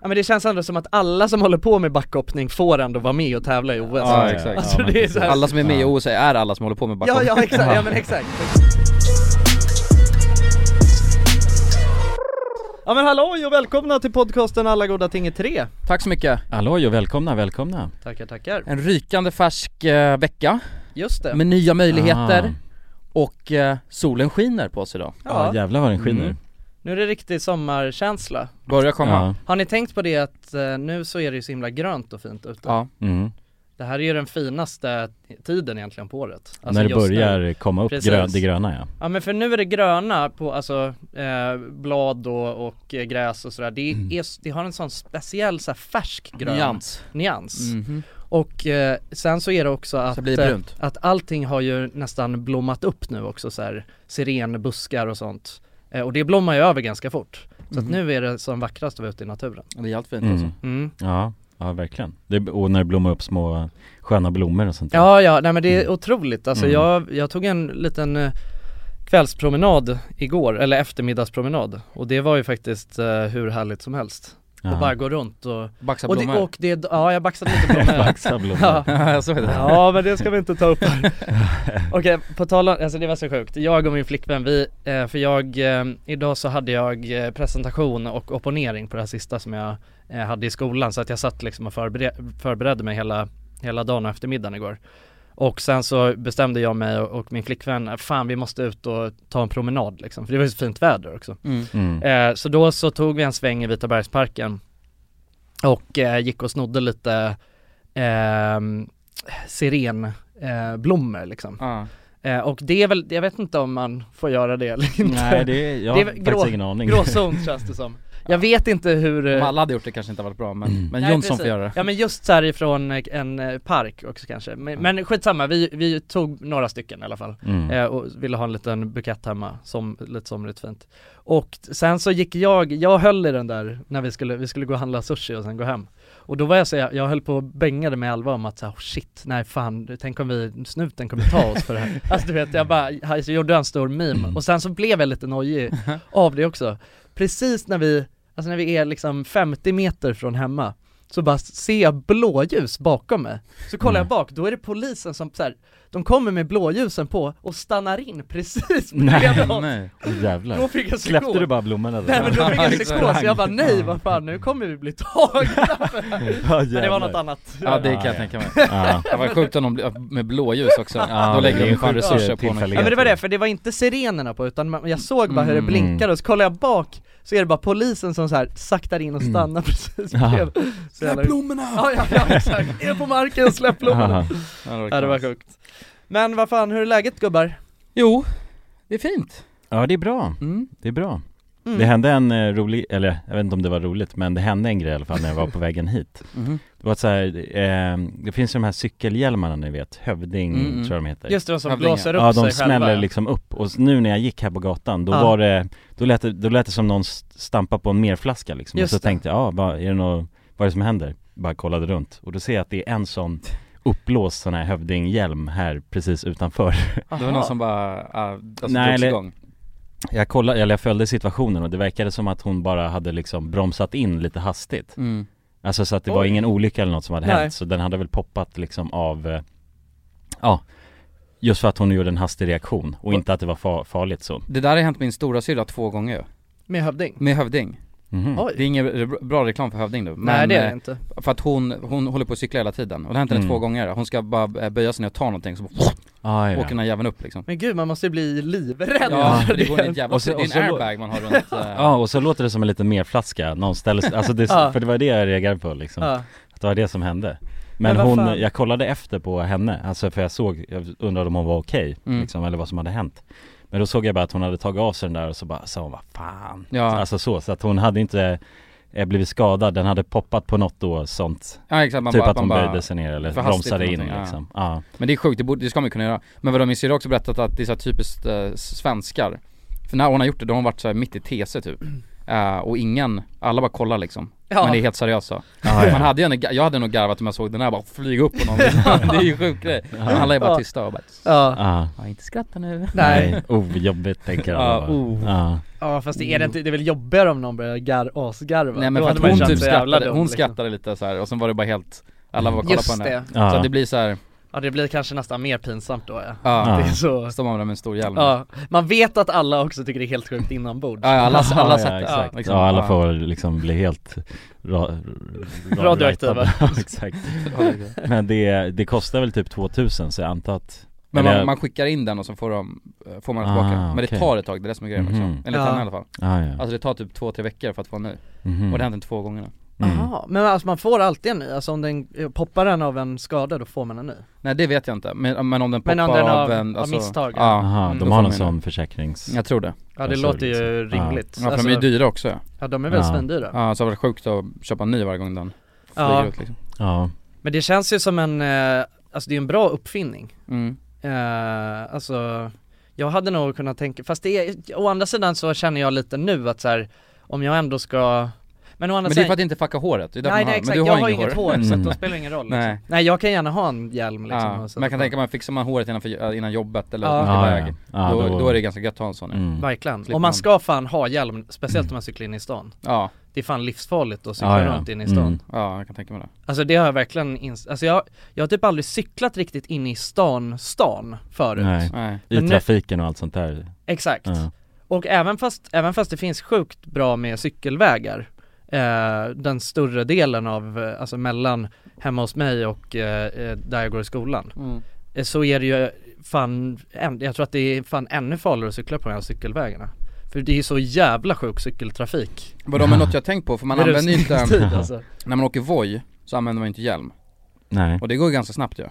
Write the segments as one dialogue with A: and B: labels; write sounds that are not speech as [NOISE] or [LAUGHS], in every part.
A: Ja men det känns ändå som att alla som håller på med backhoppning får ändå vara med och tävla i OS
B: Ja, exakt.
A: Alltså
C: Ja, men
A: det är så här...
B: Alla som är med i OS är alla som håller på med
A: Ja
B: backhoppning
A: ja exakt, ja men exakt Ja men halloj och välkomna till podcasten Alla goda ting är tre
B: Tack så mycket!
C: Halloj och välkomna, välkomna!
A: Tackar tackar
B: En rykande färsk eh, vecka
A: Just det
B: med nya möjligheter
C: Ah.
B: och eh, solen skiner på oss idag
C: Ja,
A: Ja,
C: jävlar vad den skiner.
B: Mm.
A: nu är det riktig sommarkänsla
B: Börjar komma
C: Ja.
A: Har ni tänkt på det att eh, nu så är det ju så himla grönt och fint ute?
B: Ja.
C: Mm.
A: Det här är ju den finaste tiden egentligen på året
C: När det
A: Alltså, just nu.
C: börjar komma upp
A: Precis.
C: grö- det gröna ja.
A: Ja men för nu är det gröna på alltså eh, blad och, och eh, gräs och sådär det, är, det har en sån speciell så här, färsk grön
B: Mm. Nyans.
A: nyans.
B: Mhm.
A: Och eh, sen så är det också att,
B: blir det
A: eh,
B: brunt.
A: att allting har ju nästan blommat upp nu också så här sirenbuskar och sånt eh, Och det blommar ju över ganska fort Så
B: Mm.
A: att nu är det som vackrast att vara ute i naturen
B: Det är jävligt fint
C: Mm.
B: alltså
A: mm.
C: Ja, ja verkligen. Det, och när det blommar upp små sköna blommor och sånt där.
A: Ja ja, nej men det är otroligt alltså
C: Mm.
A: jag, jag tog en liten eh, kvällspromenad igår, eller eftermiddagspromenad och det var ju faktiskt eh, hur härligt som helst
C: Ja.
A: och bara
C: [LAUGHS]
A: gå runt och,
B: Baxa
A: och, det,
B: [LAUGHS] blommor
A: och det, ja jag baxade lite blommor [LAUGHS]
C: Vaxa blommor.
A: ja.
B: Jag såg det
A: ja men det ska vi inte ta upp här Okej, på tal om, alltså det var så sjukt, jag och min flickvän vi, eh, för jag, eh, idag så hade jag eh, presentation och opponering på det här sista som jag eh, hade i skolan så att jag satt liksom och förbered, förberedde mig hela, hela dagen och eftermiddagen igår och sen så bestämde jag mig och, och min flickvän, eh, fan vi måste ut och ta en promenad liksom, för det var ju så fint väder också
B: Mm.
C: Mm.
A: Eh, så då så tog vi en sväng i Vita bergsparken och eh, gick och snodde lite eh, sirenblommor eh, blommor, liksom.
B: Ja.
A: Eh, och det är väl, jag vet inte om man får göra det eller inte.
C: Nej det är, jag
A: Det
C: har
A: är väl
C: faktiskt
A: grå-
C: ingen aning.
A: Gråzon känns det som. Jag vet inte hur... eh,
B: Om alla hade gjort det kanske inte hade varit bra men, men
A: nej,
B: Jonsson
A: precis. [LAUGHS]
B: får göra det
A: Ja men just så här ifrån eh, en eh, park också kanske. Men, men skitsamma, vi, vi tog några stycken i alla fall.
C: [LAUGHS] Mm.
A: Eh, och ville ha en liten bukett hemma, som, lite somrigt fint. Och t- sen så gick jag, jag höll i den där när vi skulle, vi skulle gå och handla sushi och sen gå hem. Och då var jag så, jag, jag höll på och bängade med Alva om att så här, oh shit, nej fan, tänk om vi, snuten kommer ta oss för det här. Alltså du vet, jag bara, jag gjorde en stor meme. Och sen så blev jag lite nojig av det också. Precis när vi, alltså när vi är liksom 50 meter från hemma, så bara ser jag blåljus bakom mig. Så kollar jag bak, då är det polisen som så här, de kommer med blåljusen på och stannar in precis bredvid oss.
B: Nej.
A: Då
C: Jävlar.
A: fick jag
C: Släppte du
A: psykos.
C: bara blommorna där?
A: Nej men då fick jag
B: Ja,
A: psykos,
B: exakt.
A: jag bara nej vad fan nu kommer vi bli
C: [LAUGHS]
A: tagna
C: [LAUGHS] Ja,
A: Men det var något
C: jävlar.
A: annat
B: Ja det kan jag
C: Ja.
A: [LAUGHS]
B: tänka mig
C: Ja.
B: Det var sjukt om de blir med blåljus också,
C: Ja,
B: då
C: det
B: lägger
C: är
B: de
C: en
B: fan
C: sjuk
B: resurser på
C: tillfällighet.
A: Ja
B: honom
A: men det var det, för det var inte sirenerna på utan man, jag såg bara hur det
B: Mm.
A: blinkade och så kollar jag bak så är det bara polisen som så här saktar in och
C: Mm.
A: stannar [LAUGHS] precis bredvid Så jävla-
B: blommorna!
A: Ja ja ja exakt, ner på marken, släpp blommorna!
C: Ja.
A: Ja det var sjukt Men vad fan, hur är läget gubbar?
B: Jo, det är fint
C: ja det är bra,
B: mm.
C: det är bra.
A: Mm.
C: Det hände en eh, rolig, eller jag vet inte om det var roligt men det hände en grej i alla fall när jag var på vägen hit
B: Mhm.
C: Det var så här, eh, det finns ju de här cykelhjälmarna ni vet, Hövding
B: Mm, mm.
C: tror jag de heter
A: Just det, de som
B: Tävlingar.
A: blåser upp
C: Ja
A: sig
C: de
A: själva
C: smäller
A: ja.
C: liksom upp och s- nu när jag gick här på gatan då
A: Ja.
C: var det, då lät det, då lät det som någon s- stampade på en merflaska liksom
A: Just
C: Och
A: det.
C: så tänkte jag, ja vad är det nå, vad är det som händer? Bara kollade runt och då ser jag att det är en sån uppblåst sån här Hövdinghjälm här precis utanför [LAUGHS]
B: Det var någon som bara, ah, alltså
C: Nej,
B: drogs
C: eller-
B: igång
C: Jag kollade, eller jag följde situationen och det verkade som att hon bara hade liksom bromsat in lite hastigt
B: mm.
C: Alltså så att det var
A: Oj.
C: ingen olycka eller något som hade
A: Nej.
C: hänt, så den hade väl poppat liksom av, eh, ja, just för att hon gjorde en hastig reaktion och inte att det var fa- farligt så.
B: Det där har hänt min stora syrra två gånger ju.
A: Med hövding?
B: med Hövding
C: Mhm.
A: Oj.
B: Mm. Det är ingen re- bra reklam för Hövding nu, men
A: Nej det är det
B: eh,
A: inte
B: för att hon, hon håller på att cykla hela tiden, och det har hänt henne
C: Mm.
B: två gånger Hon ska bara eh, böja sig ner och ta någonting, så bara,
C: Ah,
B: åker den här jäveln upp liksom
A: Men gud man måste ju bli livrädd
B: Ja, det går in i ett jävla,
C: Och så-
B: det
C: och
B: är
C: så-
B: en airbag man har runt eh,
C: [LAUGHS] Ja och så låter det som en liten merflaska, någon ställer sig, alltså det,
A: [LAUGHS] Ja.
C: för det var det jag reagerade på liksom,
A: Ja.
C: att det var det som hände
A: Men
C: Men,
A: vad
C: hon,
A: fan?
C: jag kollade efter på henne, alltså för jag såg, jag undrade om hon var okej
B: Mm.
C: liksom, eller vad som hade hänt Men då såg jag bara att hon hade tagit av sig den där och så bara sa hon vad fan
B: Ja.
C: Alltså så, så att hon hade inte eh, blivit skadad, den hade poppat på något då sånt
B: Ja exakt, man
C: Typ
B: bara,
C: att
B: man
C: hon
B: bara,
C: böjde sig ner eller
B: för hastigt
C: bromsade in
B: eller någonting,
C: liksom ja.
B: Men det är sjukt, det, borde, det ska man ju kunna göra Men vadå, min syrra har också berättat att det är så här typiskt eh, svenskar För när hon har gjort det, då har hon varit så här mitt i TC typ Eh, och ingen, alla bara kollar liksom.
A: Mm. Ja.
B: Men det är helt seriöst så.
C: Ah,
D: Ja,
B: [LAUGHS]
D: ja.
B: Man hade ju en, jag hade nog garvat om jag såg den här bara flyga upp på någon. det är ju sjuk grej. Men Alla är bara
A: Ja.
B: tysta och bara,
A: Ja,
B: [LAUGHS]
D: Ja,
B: ja inte skratta nu.
A: nej.
D: nej, oh jobbigt tänker
B: Ja,
D: alla bara.
B: oh.
D: Ja,
A: Ja fast det är det inte, det är väl jobbigare om någon börjar gar, asgarva?
B: Nej men
A: Då
B: för
A: hade
B: att
A: man
B: hon
A: känt
B: typ
A: sig jävla
B: skrattade,
A: dum,
B: hon
A: liksom.
B: skrattade lite så här och sen var det bara helt, alla bara kollade på
A: Just
B: henne.
A: det,
B: Så
D: ja,
B: att det blir så här,
A: ja det blir kanske nästan mer pinsamt då ja,
B: ja,
A: Det är så,
B: står man där med en stor hjälm. Ja,
A: ja, man vet att alla också tycker det är helt sjukt inombords
B: ja alla,
C: [LAUGHS]
B: alla,
D: Ja,
B: satt
D: ja,
B: där.
D: exakt.
B: liksom.
D: ja, alla får liksom bli helt ra- ra-
A: Radioaktiva.
D: [LAUGHS] Ja, exakt. Men det, det kostar väl typ 2000 så jag antar att
B: Men
D: Eller-
B: man, man skickar in den och så får, de, får man den tillbaka.
D: Ah,
B: Men det
D: okej.
B: tar ett tag, det är det som är grejen också.
D: Mhm.
B: Enligt
A: Ja.
B: henne i alla fall.
D: ah, ja.
B: Alltså det tar typ två, tre veckor för att få en ny.
D: Mhm.
B: Och det har hänt två gånger nu.
D: Mm.
A: Jaha, men alltså man får alltid en ny, alltså om den eh, poppar en av en skada då får man en ny?
B: Nej det vet jag inte, men, men om den poppar
A: Men om den
B: av,
A: av-
B: en,
A: av
B: alltså,
A: misstag,
B: Ja,
D: Aha,
A: Mm.
B: Då
D: de har
B: får
D: någon
B: man ju
D: sån försäkrings...
B: jag tror det.
A: Ja det
D: Alltså,
A: låter ju
D: liksom. Ja.
A: rimligt
B: Ja, för de är ju dyra också ja.
A: Alltså- ja de är väl
D: Ja.
A: svindyra
B: ja så det var sjukt att köpa en ny varje gång den flyger
A: Ja.
B: ut liksom.
D: Ja,
A: Men det känns ju som en, eh, alltså det är en bra uppfinning
B: Mm.
A: eh, Alltså, jag hade nog kunnat tänka, fast det är, å andra sidan så känner jag lite nu att så här, om jag ändå ska Men å andra
B: Men det är
A: sidan
B: för att inte fucka håret, det är därför
A: Nej
B: man
A: nej
B: har,
A: exakt,
B: men du
A: jag
B: har,
A: har
B: inget
A: inget hår, så att då spelar det ingen roll liksom.
B: Nej.
A: nej. jag kan gärna ha en hjälm liksom
B: ja.
A: och sätta
B: Men jag kan
A: på.
B: tänka mig, fixar man håret innan, för, äh, innan jobbet eller
A: Ja.
B: ja.
D: ja,
B: iväg,
D: ja. ja
B: då, då... är det ganska gött att Mm. ha en sån ja.
D: mm.
A: Verkligen,
B: Slipper
A: och
B: man.
A: man ska fan ha hjälm, speciellt om man cyklar in i stan
B: ja,
A: Det är fan livsfarligt att cykla
D: Ja, ja.
A: runt in i stan
D: Mm.
B: ja jag kan tänka mig det
A: Alltså det har jag verkligen ins- alltså jag, jag har typ aldrig cyklat riktigt in i stan, stan förut
D: Nej.
B: Nej,
D: I
A: Men nu-
D: trafiken och allt sånt där.
A: Exakt,
D: Ja.
A: och även fast, även fast det finns sjukt bra med cykelvägar eh, Den större delen av, eh, alltså mellan hemma hos mig och eh, eh, där jag går i skolan eh, Så är det ju fan, än, jag tror att det är fan ännu farligare att cykla på de här cykelvägarna För det är ju så jävla sjuk cykeltrafik
B: Vadå men något jag tänkt på, för man
A: vid
B: använder ju inte,
A: rusningstid, alltså.
B: när man åker Voi så använder man ju inte hjälm
D: Nej,
B: Och det går ju ganska snabbt ju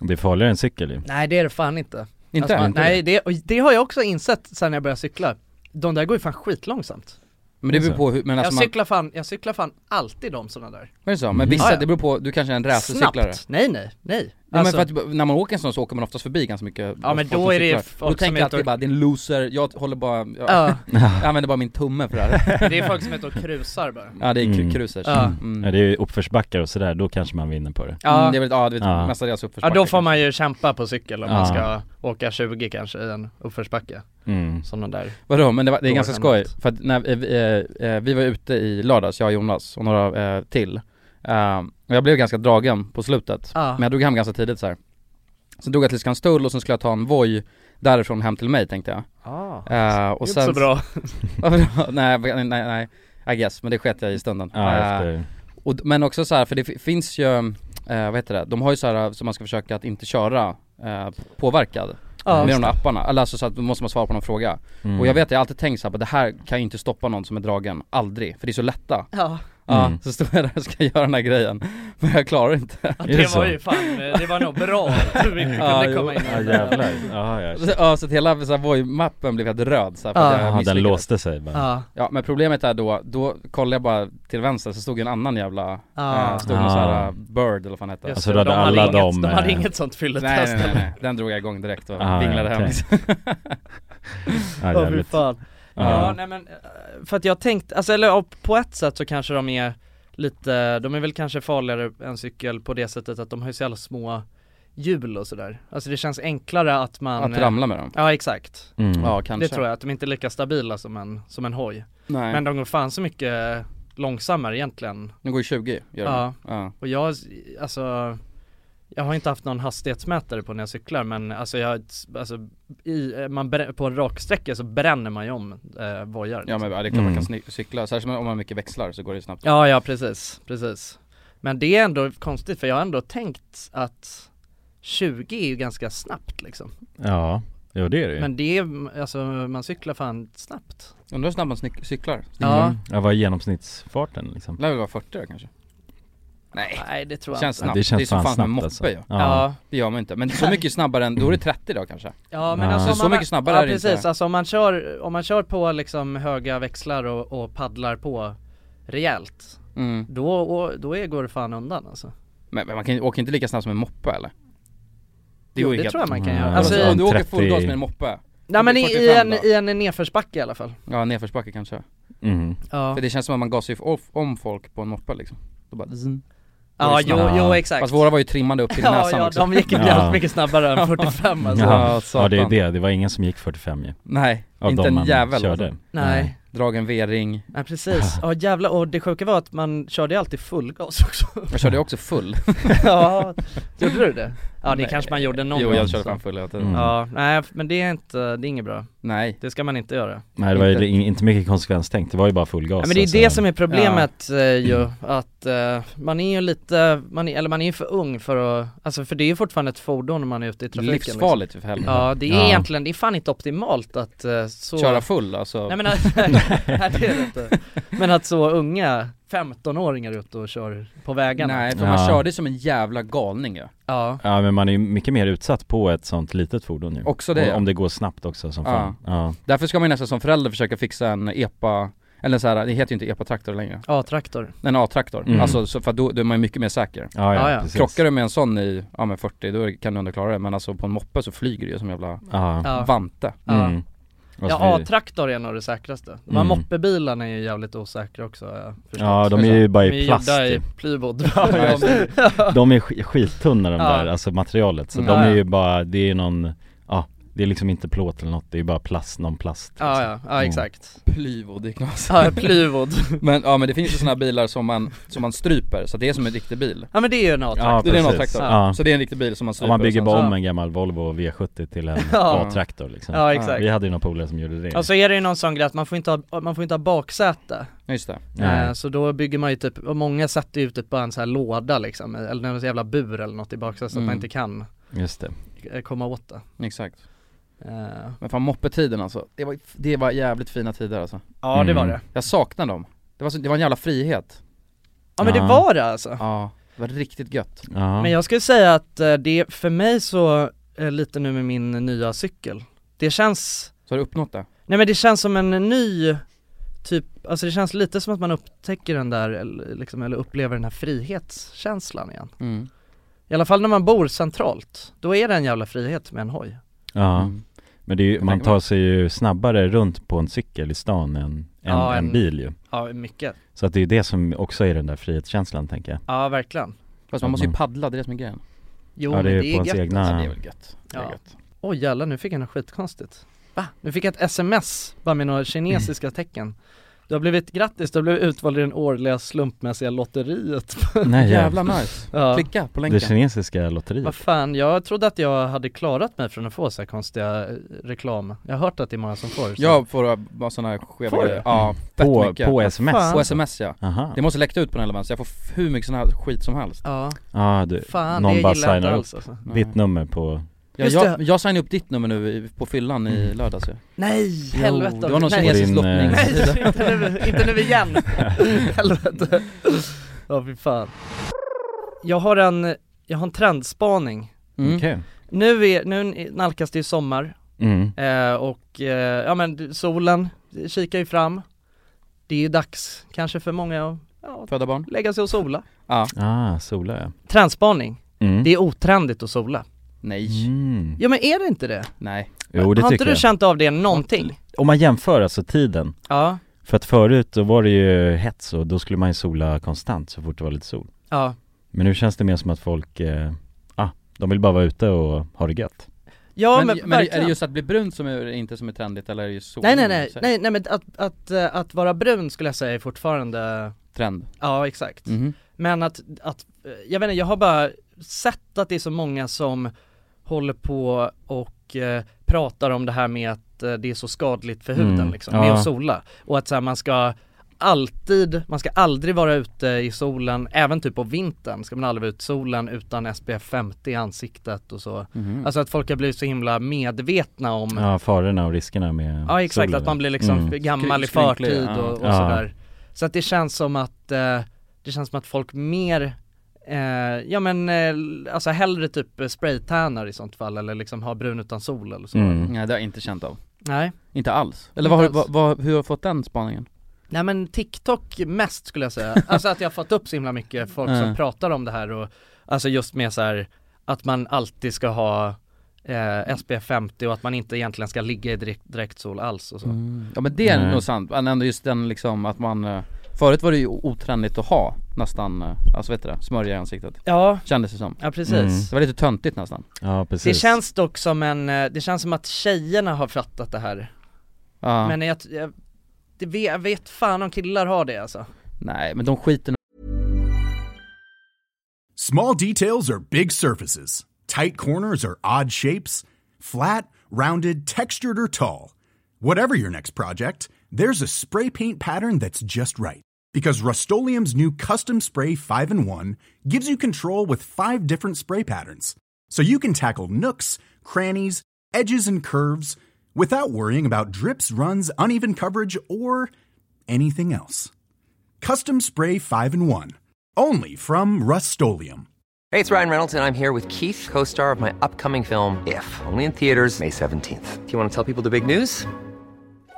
D: det är farligare än cykel ju.
A: Nej det är det fan inte
B: Inte?
A: Alltså,
D: Inte
A: nej, det, och det har jag också insett sen jag började cykla. De där går ju fan skitlångsamt.
B: Men det beror på hur, men alltså
A: jag,
B: man,
A: cyklar fan, jag cyklar fan alltid om sådana där.
B: är det så? Men vissa,
A: Ja, ja.
B: det beror på, du kanske är en racercyklare
A: Snabbt! Nej nej, nej.
B: Ja,
A: Alltså,
B: men för att när man åker en sån så åker man oftast förbi ganska mycket
A: Ja, men
B: folk som
A: då är det
B: cyklar.
A: folk
B: Då tänker
A: som
B: jag
A: inte
B: alltid bara, det är en loser, jag håller bara, jag,
A: ja,
B: jag använder bara min tumme för det
A: [LAUGHS]
B: här
A: det är folk som heter och krusar bara.
B: Ja det är
D: Mm.
B: mm. krusers
A: Ja.
B: mm.
D: Ja, det är ju uppförsbackar och sådär, då kanske man vinner på det.
A: Ja,
B: Mm, det är väl, ja du vet,
D: Ja.
B: mestadels
A: ja
B: uppförsbacke
A: då får man ju kämpa på cykel om man
D: Ja.
A: ska åka 20 kanske i en uppförsbacke.
D: Mm.
A: Sådana där.
B: Vadå, men det, var, det är
A: Då
B: ganska
A: kan
B: skoj,
A: man-
B: för att när eh, vi, eh, eh, vi var ute i lördags, jag och Jonas och några eh, till Eh, Och jag blev ganska dragen på slutet,
A: Ja.
B: men jag drog hem ganska tidigt så här. Sen drog jag till Skanstull och sen skulle jag ta en Voi därifrån hem till mig tänkte jag
A: ah.
B: Eh, och
A: det är
B: sen,
A: inte så bra.
B: [LAUGHS] Varför då? nej, nej, nej, nej, I guess, men det sket jag i stunden
D: Ja,
B: Eh,
D: efter.
B: och, d- Men också så här, för det fi- finns ju, eh, vad heter det, de har ju så här som man ska försöka att inte köra eh, påverkad
A: Ja.
B: med de där apparna, eller alltså så att då måste man svara på någon fråga
D: Mm.
B: Och jag vet, jag har alltid tänkt så här, på det här kan ju inte stoppa någon som är dragen, aldrig, för det är så lätta
A: Ja,
B: Ja,
D: Mm.
B: så står jag där och ska [LAUGHS] göra den här grejen, men jag klarar inte [LAUGHS]
A: Ja,
D: Är det
A: det
D: så?
A: var ju fan, eh, det var nog bra att du inte
B: Ja,
A: kunde
B: jo.
A: komma in i
D: [LAUGHS] Ja
A: den där.
D: jävlar,
B: [LAUGHS]
D: ja ja.
B: Så- Ja, så att hela så här, Voi-mappen blev helt röd så här, för
A: Ja.
B: att jag
D: Jaha, den
B: misslyckades.
D: låste sig bara.
A: Ja,
B: Ja, men problemet är då, då kollade jag bara till vänster så stod ju en annan jävla,
A: Ja.
B: eh, stod någon så här
D: Ah.
B: eh, bird eller vad fan hette
A: just
D: Alltså,
A: det,
D: då hade
A: de hade
D: alla
A: inget,
D: dem,
A: de hade
D: eh,
A: inget sånt
B: Nej,
A: fylletest
B: nej, nej, nej,
D: [LAUGHS]
B: den drog jag igång direkt och
D: Ah,
B: vinglade
D: ja,
B: hem
D: okej.
B: [LAUGHS] liksom.
D: Ja,
A: Ja, fy
D: jävligt.
A: fan. Ja,
D: Ja.
A: nej men, eh, för att jag tänkte, alltså eller ja, på ett sätt så kanske de är lite, de är väl kanske farligare än cykel på det sättet att de har ju så jävla små hjul och sådär. Alltså det känns enklare att man
B: Att
A: eh,
B: ramla med dem.
A: Ja exakt,
D: Mm.
B: Ja, kanske.
A: det tror jag, att de inte är lika stabila som en, som en hoj.
B: Nej,
A: Men de går fan så mycket långsammare egentligen.
B: de går ju 20, gör de.
A: Ja.
B: Ja.
A: Och jag, alltså jag har inte haft någon hastighetsmätare på när jag cyklar men alltså jag, alltså i, eh, man, brä- på en raksträcka så bränner man ju om eh, vojar.
B: Ja men ja, det är klart man kan
D: Mm.
B: sny- cykla, särskilt om man har mycket växlar så går det ju snabbt
A: Ja, ja precis, precis. Men det är ändå konstigt för jag har ändå tänkt att 20 är ju ganska snabbt liksom.
D: Ja, jo det är det ju.
A: Men det är, alltså man cyklar fan snabbt.
B: Undrar hur snabbt man sny- cyklar?
A: Ja.
D: Mm. ja vad är genomsnittsfarten liksom?
B: Lär väl vara 40 då kanske? Nej,
A: Nej det tror jag
B: känns
A: inte.
B: snabbt,
D: Ja, det känns
B: är som
D: fan
B: fan med
D: snabbt
B: moppe
D: alltså.
B: ju
D: Ja.
B: Det gör man inte, men så mycket snabbare än, då är det 30 då kanske?
A: Ja men
D: Ja.
A: alltså om
B: Så
A: man,
B: mycket snabbare
A: ja,
B: är det inte.
A: precis, alltså om man kör, om man kör på liksom höga växlar och, och paddlar på rejält
B: Mm.
A: Då, och, då är, går det fan undan alltså
B: Men, men man kan ju, åker inte lika snabbt som en moppe eller?
A: Jo, det tror jag man kan
D: Ja,
A: göra
B: Alltså,
A: alltså,
D: alltså,
B: om du åker
D: 30
B: full gas med en moppe,
A: Nej men i, i
B: 45
A: en,
B: då.
A: i en nedförsbacke i alla fall
B: Ja nedförsbacke kanske.
C: Mm.
A: Ja,
B: För det känns som att man gasar ju off- om folk på en moppe liksom. Då bara zzz.
A: ja jo, jo
C: Ja.
A: exakt
B: Fast våra var ju trimmade upp till
A: Ja,
B: näsan
A: ja
B: också.
A: de gick ju
C: Ja.
A: jävligt mycket snabbare än 45 alltså
C: Ja. Ja det är
B: satan.
C: det, det var ingen som gick 45 ju
B: Nej,
C: Av
B: inte
C: de
B: en
C: man
B: jävel
C: körde
B: alltså.
A: Nej,
B: Dragen V-ring.
A: nej precis, ja jävlar, och det sjuka var att man körde ju alltid fullgas också
B: Jag körde ju också full.
A: Ja, gjorde du det? Ja det
B: Nej.
A: kanske man gjorde någon
B: jo
A: gång
B: jag körde
A: så.
B: fan full hela tiden.
C: Mm.
A: Ja, nej men det är inte, det är inget bra
B: Nej.
A: Det ska man inte göra
C: Nej det var ju
B: Inte.
C: det- inte mycket konsekvenstänk, det var ju bara full gas
A: Ja, men det är
C: alltså.
A: det som är problemet eh, ju, att eh, man är ju lite, man är, eller man är ju för ung för att, alltså för det är ju fortfarande ett fordon när man är ute i trafiken liksom.
B: Livsfarligt ju för helvete.
A: Ja det är
C: Ja.
A: egentligen, det är fan inte optimalt att eh, så
B: Köra full alltså.
A: Nej men att, nej, det är det inte. Men att så unga 15-åringar är ute och kör på vägarna
B: Nej för
C: Ja.
B: man körde ju som en jävla galning ja.
A: Ja,
C: Ja men man är ju mycket mer utsatt på ett sånt litet fordon ju
B: Också det,
C: Och
B: ja.
C: Om det går snabbt också som
B: Ja.
C: fan Ja,
B: Därför ska man ju nästan som förälder försöka fixa en epa, eller så här, det heter ju inte epa-traktor längre.
A: A-traktor
B: En A-traktor.
C: Mm.
B: Alltså så, för att då, då är man ju mycket mer säker.
A: Ja,
C: ja, ja,
A: ja.
C: precis
B: Krockar du med en sån i, ja men 40, då är- kan du ändå klara det. Men alltså på en moppe så flyger du ju som jävla
C: Ja,
A: Ja,
B: vante.
A: ja.
C: Mm. Och så
A: ja
C: blir-
A: A-traktor är nog det säkraste. De här
C: Mm.
A: moppebilarna är ju jävligt osäkra också har jag förstått.
C: ja de är ju bara
A: De
C: i plast
A: gjorda i
C: typ.
A: plywood
C: [LAUGHS]
B: Ja, just det.
C: De är sk- skittunna de
A: Ja.
C: där, alltså materialet så
B: Mm.
C: de
A: Ja, ja.
C: är ju bara, det är ju någon, ja det är liksom inte plåt eller något, det är ju bara plast, någon plast
A: Ja,
C: liksom.
A: ja, ja
C: Mm.
A: exakt.
B: Plywood i glas.
A: [LAUGHS] Ja, plywood.
B: Men ja men det finns ju såna här bilar som man, som man stryper, så det är som en riktig bil.
A: Ja men det är ju en
C: Ja,
A: A-traktor.
B: Det är en
C: precis.
B: A-traktor.
C: Ja.
B: Så det är en riktig bil som man stryper.
C: Om man bygger
B: och sen
C: bara
A: så-
C: om en gammal Volvo V70 till en
A: Ja.
C: A-traktor liksom
A: Ja exakt.
C: Vi hade ju några polare som gjorde det
A: Och så är det ju någon sån grej att man får inte ha, man får inte ha baksäte.
B: så- Just det.
C: Nej.
A: Eh, så då bygger man ju typ, och många sätter ju typ bara en sån här låda liksom, eller någon jävla bur eller något i baksätet så att man
B: Mm.
A: inte kan
C: Just det
A: eh, komma åt det.
B: Exakt.
A: Eh,
B: Men fan moppetiden alltså, det var, det var jävligt fina tider alltså.
A: ja det var
C: Mm.
A: det.
B: Jag saknar dem. Det var, så, det var en jävla frihet.
A: Ja men det
C: Ja.
A: var det alltså.
B: Ja, det var riktigt gött.
C: Ja,
A: Men jag skulle säga att eh, det, för mig så, eh, lite nu med min nya cykel, det känns,
B: Så har du uppnått det?
A: nej men det känns som en ny typ, alltså det känns lite som att man upptäcker den där, eller liksom, eller upplever den här frihetskänslan igen.
B: Mm.
A: I alla fall när man bor centralt, då är det en jävla frihet med en hoj.
C: ja.
B: Mm.
C: men det är ju,
B: Jag
C: man
B: tänker
C: tar sig ju snabbare runt på en cykel i stan än en,
A: Ja, en-
C: en bil ju
A: Ja, mycket.
C: Så att det är ju det som också är den där frihetskänslan tänker jag
A: Ja, verkligen.
B: Fast man måste ju paddla, det är det som är grejen.
A: Jo,
C: Ja det är
A: men
C: ju på ens
A: gött.
C: egna
B: Ja, det är väl gött. Det är
A: Ja.
B: gött.
A: Oj jävlar, nu fick jag något skitkonstigt. Va? Nu fick jag ett sms, bara med några kinesiska
C: Mm.
A: tecken. Du har blivit, grattis, du har blivit utvald i den årliga slumpmässiga [LAUGHS] lotteriet.
C: Nej
B: Jävla
C: jävlar
B: nice.
A: ja.
B: Klicka på
C: Det
B: länken.
C: kinesiska lotteriet
A: Vad fan, jag trodde att jag hade klarat mig från att få så här konstiga eh, reklam. Jag har hört att det är många som får. Så.
B: Jag får bara sådana här skeva
A: Får du?
B: grejer. Ja, fett
C: Mm. på,
B: mycket.
C: på sms
A: fan.
B: På
C: alltså.
B: sms ja.
C: Aha.
B: Det måste läcka ut på den här leveransen, jag får f- hur mycket sån här skit som helst.
A: Ja,
C: Ja du,
A: fan
C: Eh, någon
A: det
C: bara
A: gillar jag inte
C: signar upp
A: alls alltså.
C: ditt nummer på
B: Ja,
A: Just
B: jag,
A: det.
B: jag signade upp ditt nummer nu i- på fyllan i lördags ju.
A: Nej,
B: Jo,
A: helvete.
B: Det var någon
A: Nej,
C: kinesisk
B: kinesisk
C: Mm. Din,
B: lottning.
C: eh,
A: Nej, inte nu, inte nu [LAUGHS] igen! Helvete. Ja fy fan. Jag har en, jag har en trendspaning.
B: Mm.
C: Okej
A: Nu, är, nu nalkas det ju sommar
C: mm.
A: eh, och eh, ja men du- solen kikar ju fram. Det är ju dags kanske för många att ja,
B: Föda barn?
A: lägga sig och sola.
B: Ja.
C: Ah, sola ja
A: Trendspaning,
C: mm.
A: det är otrendigt att sola.
B: Nej.
C: Mm.
A: Ja men är det inte det?
B: Nej.
C: Jo det
A: har inte
C: tycker
A: du
C: jag
A: känt av det någonting?
C: Om man jämför alltså tiden
A: Ja,
C: För att förut då var det ju hets och då skulle man ju sola konstant så fort det var lite sol
A: ja.
C: Men nu känns det mer som att folk, eh, ah, de vill bara vara ute och ha det gött
A: Ja men,
B: men, men är det
A: verkligen.
B: just att bli brun som är, inte som är trendigt eller är det just sol?
A: Nej nej nej,
B: Så-
A: nej, nej men att, att, eh, att vara brun skulle jag säga är fortfarande,
B: Trend.
A: ja exakt
B: Mhm.
A: Men att, att, eh, jag vet inte, jag har bara sett att det är så många som håller på och eh, pratar om det här med att eh, det är så skadligt för huden
C: Mm,
A: liksom, med
C: ja.
A: att sola och att så här, man ska alltid, man ska aldrig vara ute i solen, även typ på vintern ska man aldrig vara ute i solen utan SPF 50 i ansiktet och
C: Mm.
A: så
B: Mhm.
A: Alltså att folk har blivit så himla medvetna om
C: Ja, farorna och riskerna med
A: Mm. Ja exakt,
C: solen.
A: att man blir liksom
C: Mm.
A: gammal i
B: Skry- skrynklig,
A: förtid
B: ja.
A: och, och
C: Ja.
A: sådär Så att det känns som att, eh, det känns som att folk mer eh, ja men eh, alltså hellre typ eh, spraytannar i sånt fall eller liksom ha brun utan sol eller så.
C: Mm.
B: Nej det har jag inte känt av.
A: Nej.
B: Inte alls. Eller vad, har du-
A: Inte alls.
B: vad, vad, hur har du fått den spaningen?
A: Nej men TikTok mest skulle jag [LAUGHS] säga. Alltså att jag har fått upp så himla mycket folk som
B: Mm.
A: pratar om det här och alltså just med så här att man alltid ska ha eh, SPF 50 och att man inte egentligen ska ligga i direkt, direkt sol alls och så.
B: Mm. Ja men det är
C: Nej.
B: nog sant, men ändå just den liksom att man eh, Förut var det ju otrendigt att ha nästan, eh, alltså vet du det, smörja i ansiktet
A: Ja,
B: Kändes det som
A: ja precis.
C: Mm.
B: Det var lite töntigt nästan
C: Ja precis
A: Det känns dock som en, eh, det känns som att tjejerna har fattat det här.
B: Ja.
A: Men jag, jag, det vet, jag vet fan om killar har det alltså.
B: Nej men de skiter nog
E: Small details are big surfaces. Tight corners are odd shapes. Flat, rounded, textured, or tall. Whatever your next project, there's a spray paint pattern that's just right. Because Rust new Custom Spray 5 in 1 gives you control with five different spray patterns. So you can tackle nooks, crannies, edges, and curves without worrying about drips, runs, uneven coverage, or anything else. Custom Spray 5 in 1. Only from Rust
F: Hey, it's Ryan Reynolds, and I'm here with Keith, co star of my upcoming film, If, only in theaters, May 17th. Do you want to tell people the big news?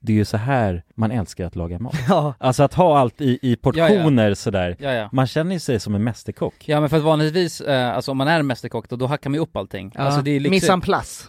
C: det är ju så här man älskar att laga mat.
A: [LAUGHS] Ja,
C: Alltså att ha allt i, i portioner sådär.
B: Ja ja
C: Man känner ju sig som en mästerkock.
B: Ja men för att vanligtvis, eh, alltså om man är en mästerkock då, då hackar man ju upp allting
A: ja.
B: Alltså det är liksom,
A: Mise en place.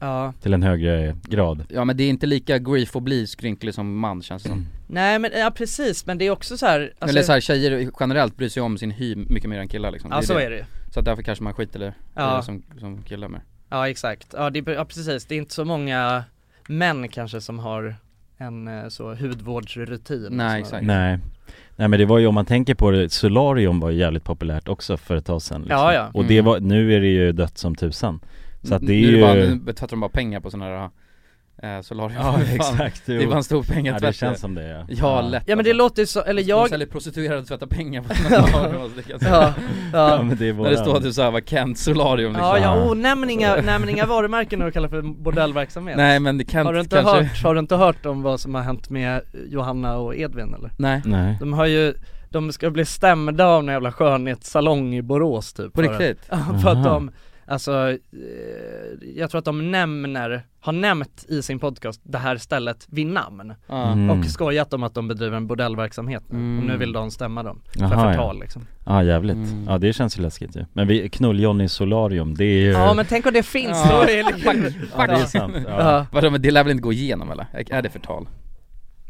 A: Ja,
C: Till en högre grad.
B: Ja men det är inte lika grief att bli skrynklig som man känns det
G: Mm.
B: som.
A: nej men ja precis, men det är också så här, alltså,
B: Eller såhär tjejer generellt bryr sig om sin hy mycket mer än killar liksom.
A: ja så är det ju.
B: Så att därför kanske man skiter i det
A: Ja.
B: eh, som, som killar med.
A: Ja exakt, ja, det, ja precis, det är inte så många män kanske som har en eh, så hudvårdsrutin Liksom. och sådär.
B: Nej exakt.
C: Nej. Nej men det var ju om man tänker på det, solarium var ju jävligt populärt också för ett tag sedan liksom.
A: Ja, ja.
C: Och det var, nu är det ju dött som tusan Så att det är
B: nu
C: ju
B: bara, nu tvättar de bara pengar på sådana här eh,
A: [LAUGHS]
B: solarium. [LAUGHS]
C: Ja
B: Fan,
C: exakt,
B: Det är bara en stor
C: ja, det
B: pengatvätt.
C: känns som det ja
B: Ja lätt
A: Ja men det
B: alltså.
A: låter ju så, eller
B: De
A: jag,
B: säljer prostituerade och tvättar pengar på sina solarium alltså, det kan jag säga.
A: [LAUGHS] ja,
B: [LAUGHS]
A: ja.
C: Ja men det är våran
B: När det står typ såhär, vad Kent solarium liksom.
A: Ja, ja, oh, nämn inga, nämn inga varumärken när du kallar för bordellverksamhet
B: Nej men det Kent
A: har, du inte
B: kanske
A: hört, har du inte hört om vad som har hänt med Johanna och Edvin eller?
B: Nej
C: Nej
A: De har ju, de ska bli stämda av en jävla skönhetssalong i Borås typ [LAUGHS]
B: På
A: för att-
B: riktigt?
A: Ja, för att
C: Aha.
A: de, alltså, eh, jag tror att de nämner, har nämnt i sin podcast det här stället vid namn
B: Ja.
C: Mm.
A: och skojat om att de bedriver en bordellverksamhet nu
B: Mm.
A: och nu vill de stämma dem för
C: Jaha, ja.
A: förtal liksom
C: Ja jävligt,
B: Mm.
C: ja det känns ju läskigt ju Men vi, knull-Johnny solarium, det är ju
A: Ja men tänk om det finns,
B: Ja.
A: då är det liksom,
B: [LAUGHS]
C: det är
A: ja. [LAUGHS]
C: sant ja.
A: Ja.
B: Vadå men det lär väl inte gå igenom eller? Är det förtal?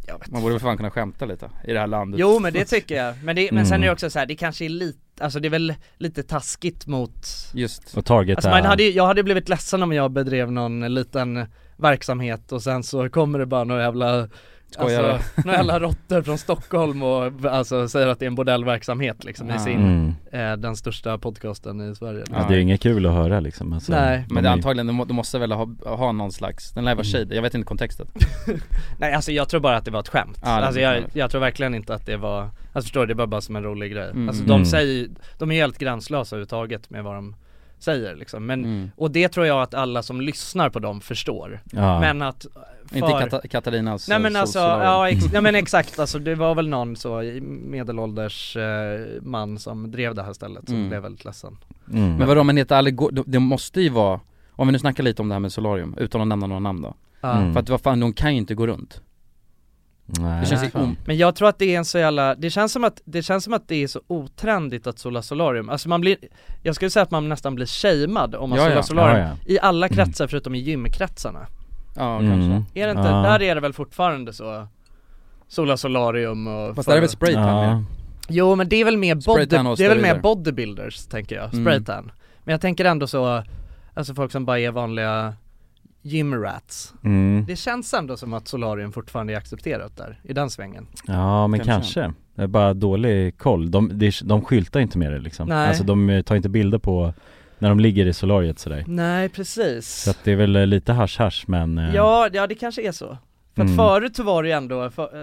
A: Jag vet
B: Man borde väl fan kunna skämta lite i det här landet
A: Jo men det typ- tycker jag, men, det, men sen är det
C: Mm.
A: också så här, det kanske är lite, alltså det är väl lite taskigt mot
B: Just,
C: Och targeta
A: Alltså man hade, ju- jag hade blivit ledsen om jag bedrev någon liten verksamhet och sen så kommer det bara några jävla
B: Skojare.
A: Alltså, några jävla råttor från Stockholm och alltså, säger att det är en bordellverksamhet liksom i
B: Ah.
A: sin,
C: mm.
A: eh, den största podcasten i Sverige
C: ja, det är ju inget kul att höra liksom alltså,
A: Nej.
C: man
B: men det är
C: är-
B: antagligen, de, må- de måste väl ha, ha någon slags, den lär vara
C: Mm.
B: shady, jag vet inte kontexten
A: Nej alltså jag tror bara att det var ett skämt,
B: Ja, det
A: alltså
B: var ett
A: jag,
B: skämt.
A: jag tror verkligen inte att det var, alltså förstår du, det var bara som en rolig grej
B: Mm.
A: Alltså de
C: Mm.
A: säger de är helt gränslösa överhuvudtaget med vad de säger liksom men
B: Mm.
A: Och det tror jag att alla som lyssnar på dem förstår
C: ja.
A: Men att för...
B: Inte Kata- Katarinas
A: Nej
B: eh,
A: men alltså,
B: solsolarium.
A: ja, ex- ja men exakt alltså det var väl någon så medelålders eh, man som drev det här stället som
B: Mm.
A: blev väldigt ledsen
C: mm.
B: Men vadå men det, aldrig går, det- det måste ju vara, om vi nu
D: Mm.
B: snackar lite om det här med solarium, utan att nämna några namn då
A: Ja.
C: Mm.
B: För att vad fan, de kan ju inte gå runt Det
D: Nej.
B: känns ju om...
A: Men jag tror att det är en så jävla, det känns som att det, känns som att det är så otrendigt att sola solarium, alltså man blir, jag skulle säga att man nästan blir shamead om man
B: Ja,
A: solar
B: ja.
A: solarium
D: Ja,
A: I alla kretsar förutom i gymkretsarna
B: Ja,
D: Mm.
B: kanske.
A: Är det inte,
D: Ja.
A: där är det väl fortfarande så Sola solarium och
B: Fast där är väl spraytan
D: Ja.
B: mer?
A: Jo men det är väl mer, body,
B: Spraytan och
A: det är väl mer
B: steroider.
A: bodybuilders tänker jag,
B: Mm.
A: spraytan Men jag tänker ändå så, alltså folk som bara är vanliga gymrats
D: Mm.
A: Det känns ändå som att solarium fortfarande är accepterat där, i den svängen
D: Ja men
B: Kanske.
D: kanske. Det är bara dålig koll. De, de, de skyltar inte med det liksom.
A: Nej.
D: Alltså de eh, tar inte bilder på när de ligger i solariet sådär.
A: Nej precis
D: Så att det är väl eh, lite hasch hasch men eh,
A: Ja, ja det kanske är så. För att
D: Mm.
A: förut så var det ju ändå, för, eh,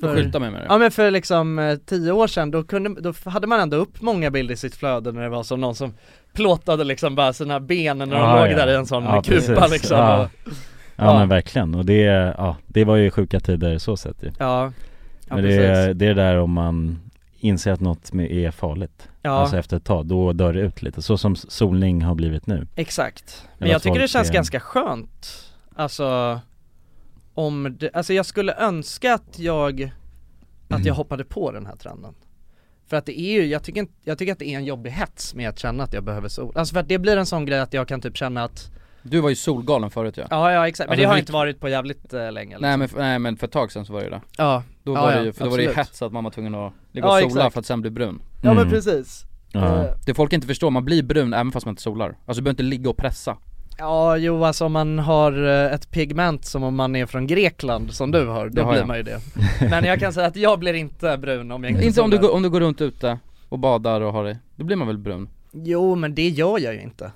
B: Får
A: för
B: skylta mig med det.
A: Ja men för liksom eh, tio år sedan, då, kunde, då hade man ändå upp många bilder i sitt flöde när det var som någon som plåtade liksom bara sina ben när de
D: Ah, Ja,
A: låg
D: ja.
A: där i en sån
D: Ja,
A: kupa
D: precis. Ah.
A: liksom
D: Ja.
A: och,
D: ja,
A: Ja.
D: men verkligen och det, ja, det var ju sjuka tider så sett ju.
A: ja, ja
D: men
A: precis
D: det, är- det är där om man inser att något med- är farligt.
A: Ja,
D: Alltså efter ett tag, då dör det ut lite. Så som solning har blivit nu.
A: exakt. Men
D: Eller
A: jag
D: att
A: tycker det
D: folk
A: känns
D: är-
A: ganska skönt, alltså om det, alltså jag skulle önska att jag, att
B: Mm.
A: jag hoppade på den här trenden För att det är ju, jag tycker, inte- jag tycker att det är en jobbig hets med att känna att jag behöver sol, alltså för att det blir en sån grej att jag kan typ känna att
B: Du var ju solgalen förut ja.
A: Ja ja exakt, men
B: Alltså,
A: det har
B: vi-
A: inte varit på jävligt eh, länge liksom.
B: Nej men, Mm. nej men för ett tag sedan så var det ju det.
A: Ja,
B: Då
A: Ja,
B: var
A: ja,
B: det ju, för då var det ju
A: absolut.
B: hets att man var tvungen att ligga
A: Ja,
B: och sola
A: exakt.
B: för att sen bli brun.
A: ja men
D: Mm.
A: precis
D: Ja.
A: Eh,
B: Det folk inte förstår, man blir brun även fast man inte solar. Alltså du behöver inte ligga och pressa.
A: Ja jo alltså om man har eh, ett pigment som om man är från Grekland som du har, då
B: Det har
A: blir
B: jag.
A: man ju
B: [LAUGHS]
A: det Men jag kan säga att jag blir inte brun om jag inte
B: Inte om du,
A: solar.
B: går- om du går runt ute och badar och har det, då blir man väl brun?
A: Jo men det gör jag ju inte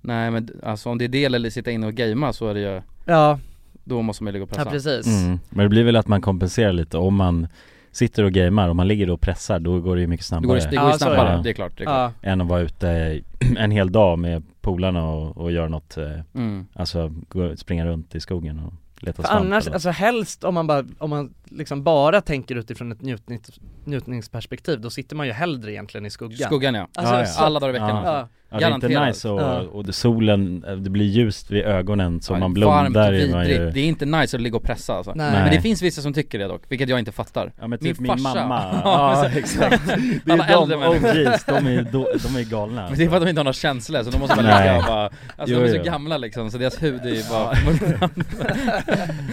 B: Nej men d- alltså om det är det eller sitta inne och gamea så är det ju,
A: Ja,
B: då måste man ju ligga och
A: ja
B: pressa.
A: precis
D: Mm. Men det blir väl att man kompenserar lite om man sitter och gamear, om man ligger och pressar då går det ju mycket
B: det går,
D: snabbare
B: ju- det går
A: Ja,
B: ju
A: så är
B: snabbare,
D: det.
B: det är klart. Det är klart.
A: Ja,
D: än att vara ute [CLEARS THROAT] en hel dag med polarna och, och göra något, eh,
B: Mm.
D: alltså gå, springa runt i skogen och leta
A: för
D: svamp
A: annars,
D: eller-
A: alltså helst om man bara, om man liksom bara tänker utifrån ett njutnings, njutningsperspektiv, då sitter man ju hellre egentligen i skuggan
B: Skuggan ja.
A: Alltså,
D: Ja, ja.
A: Så,
B: Alla dagar i veckan
D: Ja.
B: alltså.
A: ja.
D: ja, det är inte
B: garanterat.
D: nice och,
A: Ja.
D: och det, solen, eh, det blir ljust vid ögonen så
B: Ja,
D: man
B: Varmt
D: blundar
B: och
D: i man
B: vidrigt,
D: ju
B: det är inte nice att ligga och pressa alltså.
A: Nej.
B: Men det
D: Nej.
B: finns vissa som tycker det dock, vilket jag inte fattar.
D: Ja men typ
B: Min
D: min,
B: farsa.
D: mamma,
B: [LAUGHS] Ja,
D: ja
B: men-
D: [LAUGHS] exakt Det är
B: Alla
D: ju de
B: äldre människor.
D: OGs, de är ju då- de är ju galna alltså.
B: Men det är för att de inte har några känslor så de måste bara ligga
D: Nej.
B: och bara, alltså
D: Jo,
B: de är så
D: jo.
B: gamla liksom så deras hud är ju [LAUGHS] bara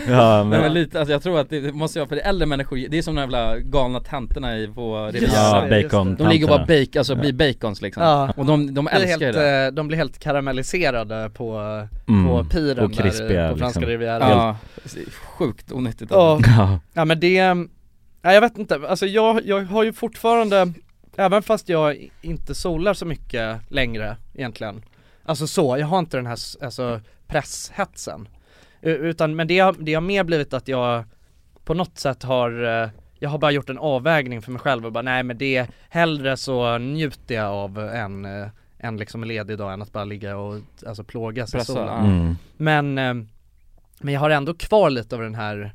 D: Ja
B: Nej men
D: men,
B: lite, alltså jag tror att det, det måste vara för äldre människor, det är som de jävla galna tanterna i, på
A: Just
B: Riviera
D: ja
A: det, just det.
D: bacon
B: De ligger och bara bake, alltså blir bacons liksom
A: Ja.
B: Och de, de
A: Blir
B: älskar ju
A: helt,
B: det
A: eh, de blir helt karamelliserade på,
D: Mm.
A: på piren
D: Och krispiga,
A: där, på franska
D: liksom.
A: rivieran
B: Ja, sjukt onyttigt
A: Ja,
D: [LAUGHS] Ja,
A: ja men det, eh, nej jag vet inte, alltså jag, jag har ju fortfarande, även fast jag inte solar så mycket längre egentligen Alltså så, jag har inte den här s- alltså, presshetsen U- Utan, men det, har- det har mer blivit att jag på något sätt har, eh, jag har bara gjort en avvägning för mig själv och bara nej men det, hellre så njuter jag av en, eh, en liksom ledig dag än att bara ligga och alltså plågas i
B: Pressa,
A: solen
B: ja.
D: mm.
A: men, eh, men jag har ändå kvar lite av den här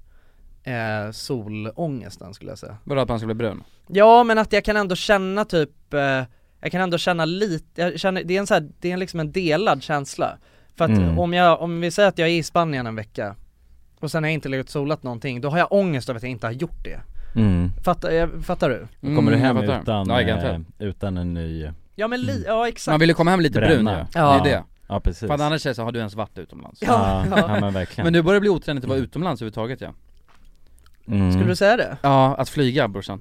A: eh, solångesten skulle jag säga
B: Bara att man ska bli brun
A: Ja men att jag kan ändå känna typ, eh, jag kan ändå känna lite, jag känner, det är en så här, det är en liksom en delad känsla För att
D: Mm.
A: om jag, om vi säger att jag är i Spanien en vecka och sen har jag inte legat och solat någonting, då har jag ångest över att jag inte har gjort det
D: Mm.
A: Fattar, jag, fattar du?
B: Mm,
D: Kommer du hem
B: jag fattar.
D: utan,
B: Nej,
D: eh,
B: garanterat.
D: utan en ny,
A: Ja men li, ja exakt
B: Man vill ju komma hem lite brun
D: Bränna.
B: ju, det är ju det
D: ja precis
B: För att annars är det så, har du ens varit utomlands?
D: Ja,
A: Ja,
D: ja men verkligen
B: Men du börjar bli otränigt att vara utomlands överhuvudtaget ja
D: Mm.
A: Skulle du säga det?
B: Ja, att flyga brorsan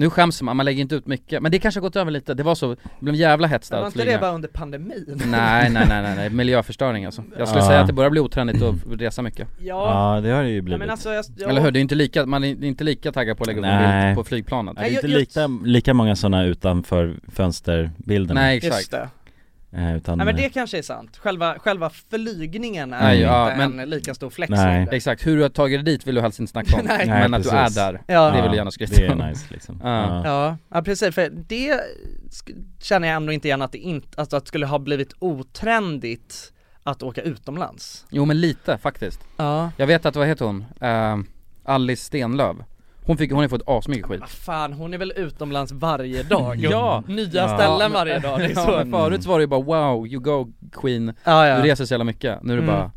B: Nu skäms man, man lägger inte ut mycket, men det kanske har gått över lite, det var så, det blev en jävla hets där
A: Var
B: att
A: inte
B: flyga
A: det bara under pandemin?
B: [LAUGHS] Nej, nej, nej, nej, nej, miljöförstöring alltså. Jag skulle
D: Ja.
B: säga att det börjar bli oträndigt
D: [CLEARS THROAT]
B: att resa mycket.
A: Ja,
D: Ja det har det ju
A: ja
D: blivit
A: men alltså jag, jag
B: Eller hur? Det är inte lika, man är inte lika taggad på att lägga upp en
D: Nej.
B: bild på flygplanet.
D: Nej,
A: Nej,
D: det är inte
A: jag-
D: lika, lika många sådana utanför fönsterbilderna
B: Nej,
A: Just
B: exakt.
A: det.
D: eh, utan,
A: Nej men det kanske är sant, själva, själva flygningen är
B: Nej,
A: inte
B: ja,
A: en
B: men-
A: lika stor flex
D: Nej.
A: längre.
B: Exakt, hur du har tagit dig dit vill du helst inte snacka om.
A: [LAUGHS] Nej.
B: Men att
D: Nej,
B: du är
D: precis.
B: där.
A: Ja.
B: Det vill
D: Ja,
B: jag gärna skriva
D: Det
B: om.
D: är nice liksom
B: Ja.
A: Ja, ja precis för det sk- känner jag ändå inte igen att det inte, alltså att det skulle ha blivit otrendigt att åka utomlands
B: Jo men lite faktiskt.
A: Ja
B: Jag vet att, vad heter hon? Eh, Alice Stenlöf. Hon fick, hon har fått asmycket skit.
A: Vad fan, hon är väl utomlands varje dag?
B: [LAUGHS] Ja.
A: Nya ställen
B: men-
A: varje dag, det är
B: [LAUGHS] Ja,
A: så
B: men förut var det ju bara wow, you go queen,
A: Ja
B: du
A: ja,
B: reser så jävla mycket. Nu är det
A: Mm.
B: bara,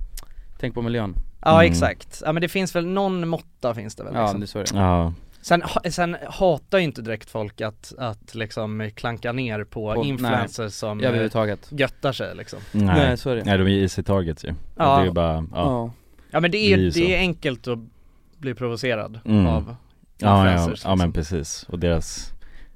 B: tänk på miljön.
A: Ja
D: Mm.
A: exakt, ja men det finns väl någon måtta finns det väl
B: Ja,
A: liksom.
B: det är så det är.
D: Ja,
A: Sen, ha- sen hatar ju inte direkt folk att, att liksom klanka ner på
B: På-
A: influencers som
B: Ja,
A: eh,
B: överhuvudtaget.
A: göttar sig liksom
D: nej.
B: Nej,
D: nej.
B: så är det.
D: de är i sitt target ju.
A: Ja.
D: Ja. Det är ju bara, ja.
B: Ja.
A: Ja men det är,
D: Det är
A: det
D: ju
A: är,
D: så.
A: enkelt att bli provocerad
D: Mm.
A: av
D: Ja, ja, ja,
A: influencers
D: men
A: liksom.
D: precis. Och deras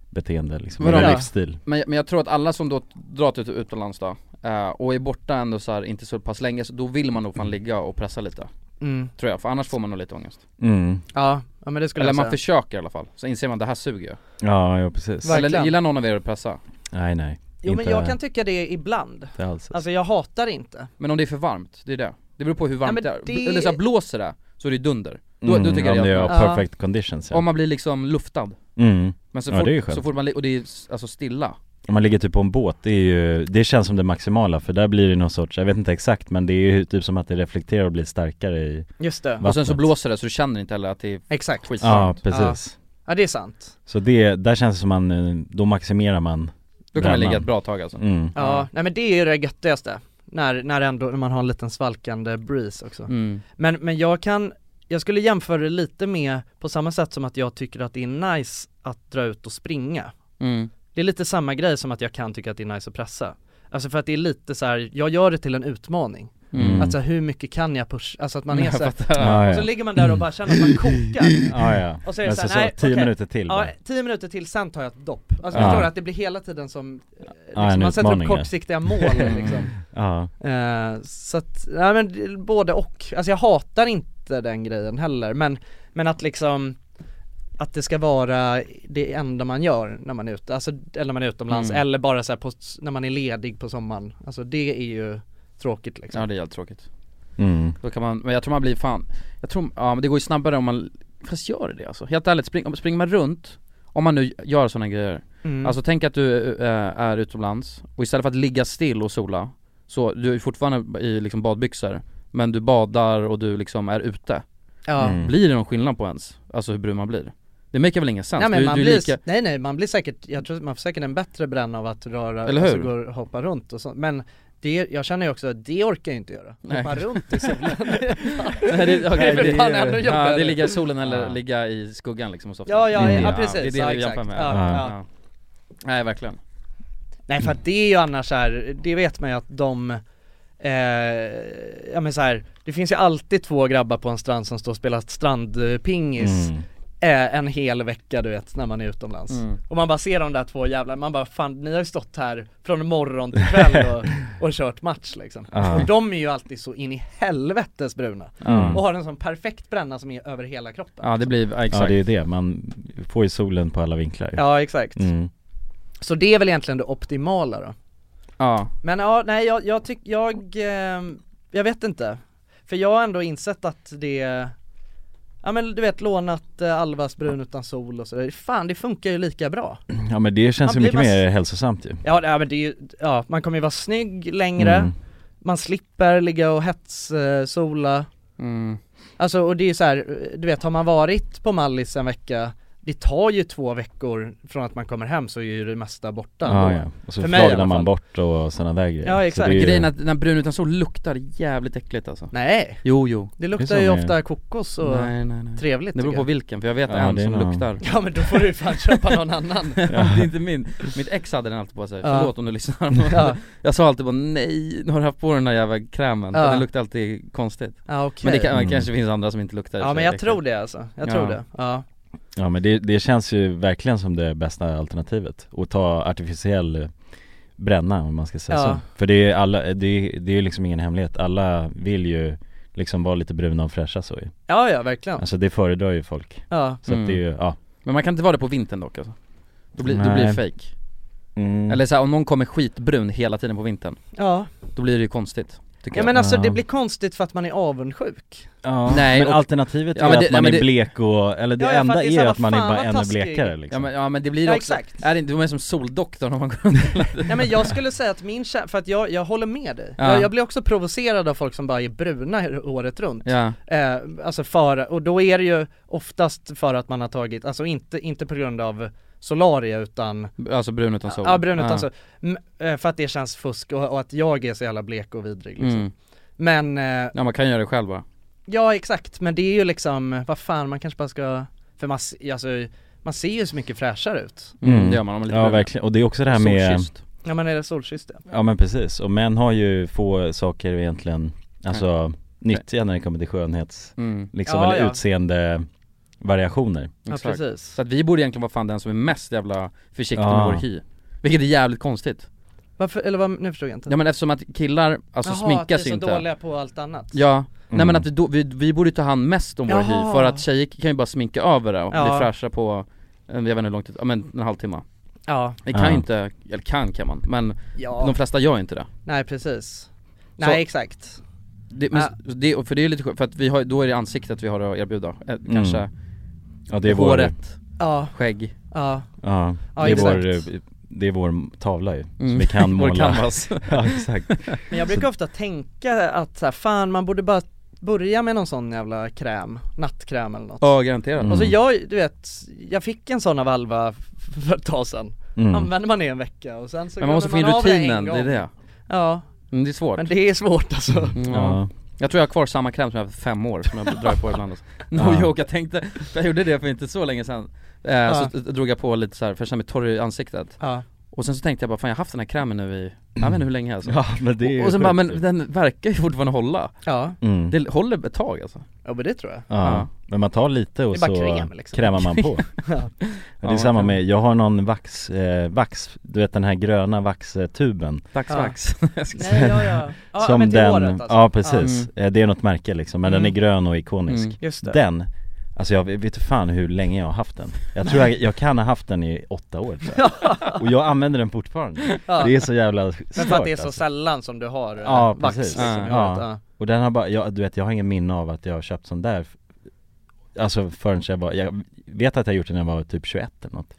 D: beteende liksom,
B: Vadå?
D: deras
A: Ja.
D: livsstil.
B: Men, men jag tror att alla som då drar till utomlands då, eh, och är borta ändå så här, inte så pass länge, så då vill man nog fan ligga och pressa lite.
A: Mm.
B: Tror jag, för annars får man nog lite ångest.
D: Mm.
A: Ja, ja men det skulle
B: Eller
A: jag
B: man
A: säga
B: försöker i alla fall, så inser man det här suger ju.
D: Ja, ja precis.
A: Verkligen.
B: Eller gillar någon av er att pressa?
D: Nej, nej.
A: Jo men
D: inte,
A: jag kan tycka det ibland
D: inte alls.
A: Alltså jag hatar inte
B: Men om det är för varmt, det är det. Det beror på hur varmt
A: men
B: det är.
A: det-
B: Eller så här, blåser det, så är det dunder. Då,
D: Mm,
B: då tycker
D: om
B: jag
D: det
B: det
D: är
B: är
A: Ja.
D: perfect conditions ja.
B: Om man blir liksom luftad.
D: mm.
B: Men så
D: Ja,
B: fort,
D: det är ju skönt.
B: så fort man, li- och det är s- alltså stilla.
D: Om man ligger typ på en båt, det är ju, det känns som det maximala för där blir det någon sorts, jag vet inte exakt men det är ju typ som att det reflekterar och blir starkare i
A: Just det,
D: Va-
B: Och sen så
D: Vattnet.
B: blåser det så du känner inte heller att det är
A: exakt
D: Ja
B: skitvarmt.
D: precis
A: Ja det är sant
D: Så det, där känns det som man, eh, då maximerar man
B: Då kan man ligga
D: brännan.
B: ett bra tag alltså.
D: mm.
A: Ja,
B: Ja.
A: nej men det är ju det göttigaste när, när ändå, när man har en liten svalkande breeze också
B: Mm.
A: Men, men jag kan, jag skulle jämföra det lite med, på samma sätt som att jag tycker att det är nice att dra ut och springa
B: Mm.
A: Det är lite samma grej som att jag kan tycka att det är nice att pressa Alltså för att det är lite så här, jag gör det till en utmaning
B: Mm.
D: Mm.
A: Att så här, hur mycket kan jag pusha, alltså att man är
B: [LAUGHS] Jag
A: så här,
B: fattar.
D: Ja,
A: och så
D: ja.
A: ligger man där och bara känner att man kokar
D: ja, ja.
A: Och så är det
D: Men
A: så här,
D: så,
A: nej,
D: tio
A: okej.
D: minuter till
A: Ja,
D: bara.
A: tio minuter till, sen tar jag ett dopp Alltså
D: Ja.
A: förstår du, att det blir hela tiden som, eh, liksom,
D: en
A: man sätter upp
D: utmaning, ja.
A: kortsiktiga mål
D: [LAUGHS]
A: liksom
D: ja.
A: Eh, så att, nej men det- både och. Alltså jag hatar inte den grejen heller men, men att liksom att det ska vara det enda man gör när man är ute, alltså eller när man är utomlands
B: Mm.
A: eller bara så här på, när man är ledig på sommaren. Alltså det är ju tråkigt liksom.
B: Ja det är helt tråkigt.
D: Mm.
B: Då kan man, men jag tror man blir fan, jag tror, ja men det går ju snabbare om man, fast gör det det alltså? Helt ärligt, spring, om, springer man runt, om man nu gör sådana grejer.
A: Mm.
B: Alltså tänk att du eh, är utomlands, och istället för att ligga still och sola, så du är fortfarande i liksom badbyxor, men du badar och du liksom är ute.
A: ja.
D: Mm.
B: Blir det någon skillnad på ens, alltså hur brun man blir? Det maker väl ingen sens?
A: Nej men
B: du,
A: man
B: du är
A: blir,
B: lika-
A: nej nej man blir säkert, jag tror att man får säkert en bättre bränna av att röra,
B: Eller
A: alltså
B: hur?
A: gå och hoppa runt och sånt. Men det, jag känner ju också att det orkar jag inte göra.
B: Nej.
A: Hoppa runt i solen. [LAUGHS]
B: Nej, det, okay,
A: är för fan ännu jobbigare.
B: ja, det är ligga i solen eller
D: Ja.
B: ligga i skuggan liksom och softa.
A: Ja, ja,
D: ja,
A: precis.
B: Det är det
A: Ja,
B: vi jämför
A: exakt.
B: med.
A: Ja, ja.
B: Nej verkligen.
A: Nej för att det är ju annars så här, det vet man ju att de eh, Ja men så här, det finns ju alltid två grabbar på en strand som står och spelar strandpingis
D: Mm.
A: eh, en hel vecka du vet när man är utomlands
B: Mm.
A: Och man bara ser de där två jävlarna, man bara fan ni har ju stått här från morgon till kväll
B: [LAUGHS]
A: och, och kört match liksom
D: Ja.
A: Och de är ju alltid så in i helvetes bruna
D: Mm.
A: och har en sån perfekt bränna som är över hela kroppen
B: Ja det blir, ja, exakt.
D: Ja det är ju det, man får ju solen på alla vinklar ju.
A: Ja, exakt,
D: Mm.
A: så det är väl egentligen det optimala då
B: ja.
A: Men ja, nej jag, jag tycker, jag, ehm, jag vet inte. För jag har ändå insett att det, ja men du vet lånat eh, Alvas brun utan sol och sådär, fan det funkar ju lika bra.
D: ja men det känns
A: Man
D: ju mycket
A: blir
D: mer hälsosamt ju
A: Ja, ja men det är ju, ja man kommer ju vara snygg längre,
D: Mm.
A: man slipper ligga och hetssola.
B: Mm.
A: Alltså och det är ju så här, du vet har man varit på Mallis en vecka, det tar ju två veckor från att man kommer hem så är ju det mesta borta.
D: Ja,
A: då.
D: ja. Och så
A: För mig i alla
D: flagnar man
A: fall.
D: bort och sådana där grejer
A: Ja,
D: Så
A: exakt.
D: det är ju-
B: Grejen är att den här brun utan sol luktar jävligt äckligt alltså.
A: Nej,
B: Jo jo.
A: det
D: Det
A: luktar
D: är
A: ju
D: som är-
A: ofta kokos och
B: Nej nej nej.
A: trevligt
B: Det beror
A: tycker
B: på
A: jag.
B: vilken, för jag vet
D: Ja,
B: en
D: det är
B: som
D: någon- [LAUGHS]
B: luktar.
A: [LAUGHS] Ja men då får du fan köpa någon
B: [LAUGHS]
A: annan
B: det är inte min. Mitt ex hade den alltid på sig,
A: Ja.
B: förlåt om du [LAUGHS] lyssnar.
A: Ja,
B: Jag sa alltid bara nej, nu har du haft på den där jävla krämen,
A: Ja.
B: den luktar alltid konstigt.
A: ja okej
B: Men det kan,
D: Mm.
B: kanske finns andra som inte luktar i och
A: Ja
B: för
A: men
B: sig
A: jag
B: äckligt.
A: tror det alltså, jag
B: Ja.
A: tror det, ja
D: Ja men det, det känns ju verkligen som det bästa alternativet Att ta artificiell eh, bränna om man ska säga
A: Ja.
D: så För det är ju alla, det är, det är ju liksom ingen hemlighet Alla vill ju liksom vara lite bruna och fräscha så ju
A: Ja ja verkligen,
D: Alltså det föredrar ju folk
A: ja
D: Så
B: Mm.
D: att det är ju, ja
B: Men man kan inte vara det på vintern dock alltså. Då blir, då blir det
D: Nej.
B: fake.
D: mm.
B: Eller såhär, om någon kommer skitbrun hela tiden på vintern,
A: Ja,
B: då blir det ju konstigt. Tycker
A: ja men alltså
D: Ja.
A: det blir konstigt för att man är avundsjuk
D: ja.
B: Nej,
D: Men
B: och-
D: alternativet
B: Ja,
D: är
B: men det-
D: att man
B: ja, men
D: är
B: det-
D: blek och, eller det
A: Ja, jag
D: enda
A: fattar, det är
D: är,
A: så här,
D: att man är
A: vad fan,
D: bara
A: vad
D: ännu
A: taskig.
D: blekare
B: jag. Ja
D: liksom
B: men, ja men det blir
A: Ja,
B: också,
A: exakt.
B: är det inte, de är som soldoktorn om man går runt hela tiden.
A: Nej men jag skulle säga att min kär, för att jag, jag håller med dig
B: Ja.
A: jag, jag blir också provocerad av folk som bara är bruna året runt
B: Ja,
A: eh, Alltså för, och då är det ju oftast för att man har tagit, alltså inte, inte på grund av solaria utan
B: alltså brun utan sol. Ah.
A: Ja brun utan sol, M- eh, för att det känns fusk och, och att jag är så jävla blek och vidrig liksom.
B: Mm.
A: Men eh,
B: Ja man kan göra det själv bara.
A: Ja exakt, men det är ju liksom, vad fan man kanske bara ska, för man, se- alltså, man ser ju så mycket fräschare ut
B: Mm, det gör man om man är lite
D: Ja
B: brun.
D: verkligen, och det är också det här med
B: Solkysst.
A: Ja men är det solkysst ja.
D: Ja men precis, och män har ju få saker egentligen, alltså nyttiga när det kommer till skönhets,
B: Mm,
D: liksom,
A: Ja,
D: eller
A: ja.
D: utseende variationer
A: Ja
B: exakt.
A: precis
B: Så att vi borde egentligen vara fan den som är mest jävla försiktig
D: Ja.
B: med vår hy Vilket är jävligt konstigt
A: Varför, eller vad, nu förstod jag inte
B: Ja men eftersom att killar, alltså
A: Jaha,
B: sminkas
A: att vi är
B: ju inte
A: så dåliga på allt annat
B: Ja, nej
D: Mm.
B: men att vi, då, vi, vi borde ta hand mest om vår
A: Jaha.
B: hy för att tjejer kan ju bara sminka över det och
A: Ja.
B: bli fräscha på, eh, jag vet inte hur lång tid, ja men en halvtimme
A: Ja,
B: Det kan
D: Ja.
B: ju inte, eller kan kan man, men
A: ja.
B: de flesta gör ju inte det,
A: nej precis Nej exakt
B: det, men,
A: Ja.
B: det och För det är ju lite skönt, för att vi har, då är det ansiktet vi har att erbjuda, eh, kanske
D: Ja Mm. det är vår,
B: håret,
A: Ja,
B: skägg,
A: ja,
D: ja,
A: Ja,
D: det är vår,
A: exakt.
D: eh, det är vår tavla ju, som
B: Mm.
D: vi
B: [LAUGHS]
D: kan
B: vår
D: måla
B: canvas
D: [LAUGHS] Ja
B: [LAUGHS]
D: exakt,
A: men jag brukar ofta tänka att så här, fan man borde bara börja med någon sån jävla kräm, nattkräm eller något
B: Ja garanterat
D: Mm.
A: Och så jag, du vet, jag fick en sån av Alva [LAUGHS] för ett tag sedan
D: mm.
A: Använder man det en vecka och sen så
B: Men man måste få in
A: glömmer av en
B: rutinen, det,
A: gång.
B: är det
A: Ja,
B: mm, Det är svårt
A: men det är svårt alltså
B: Mm, ja.
D: ja.
B: Jag tror jag har kvar samma kräm som jag har haft för fem år som jag drar på
D: [LAUGHS]
B: ibland alltså. No
D: Ja.
B: joke, jag tänkte, för jag gjorde det för inte så länge sedan eh, Så drog jag på lite så här, för jag kände mig torr i ansiktet
A: Ja,
B: Och sen så tänkte jag bara, fan jag har haft den här krämen nu i, jag vet inte hur länge
A: liksom.
B: alltså
D: ja men det är ju
B: Och sen bara, men
D: sjukt.
B: den verkar ju fortfarande hålla
A: ja,
D: mm.
B: Det håller ett tag alltså
A: ja men det tror jag
D: Ja,
B: Ja.
D: men man tar lite och
A: Det är
D: så
A: bara kräm, liksom.
D: krämar
A: [LAUGHS]
D: man på
A: Ja.
D: Det
B: Ja,
D: är
B: man
D: samma
B: kan.
D: med, jag har någon vax, eh, vax, du vet den här gröna vaxtuben
B: [LAUGHS] Dagsvax
A: Nej, ja, ja. ja
D: Som
A: men till
D: den,
A: håret alltså.
D: ja precis, Eh, det är något märke liksom, men den
B: Mm.
D: är grön och ikonisk
B: Mm.
A: Just det.
D: Den, alltså jag vet inte fan hur länge jag har haft den Jag tror jag, jag kan ha haft den i åtta år tror
A: [LAUGHS]
D: jag. Och jag använder den fortfarande
A: Ja.
D: Det är så jävla stört
A: Men för att det är så
D: alltså.
A: sällan som du har eh,
D: Ja,
A: vax
D: precis.
A: liksom, i
D: Ja.
A: håret, ja.
D: Och den har bara, jag, du vet jag har ingen minne av att jag har köpt sån där Alltså förrän jag var, jag vet att jag gjort den när jag var typ 21 eller något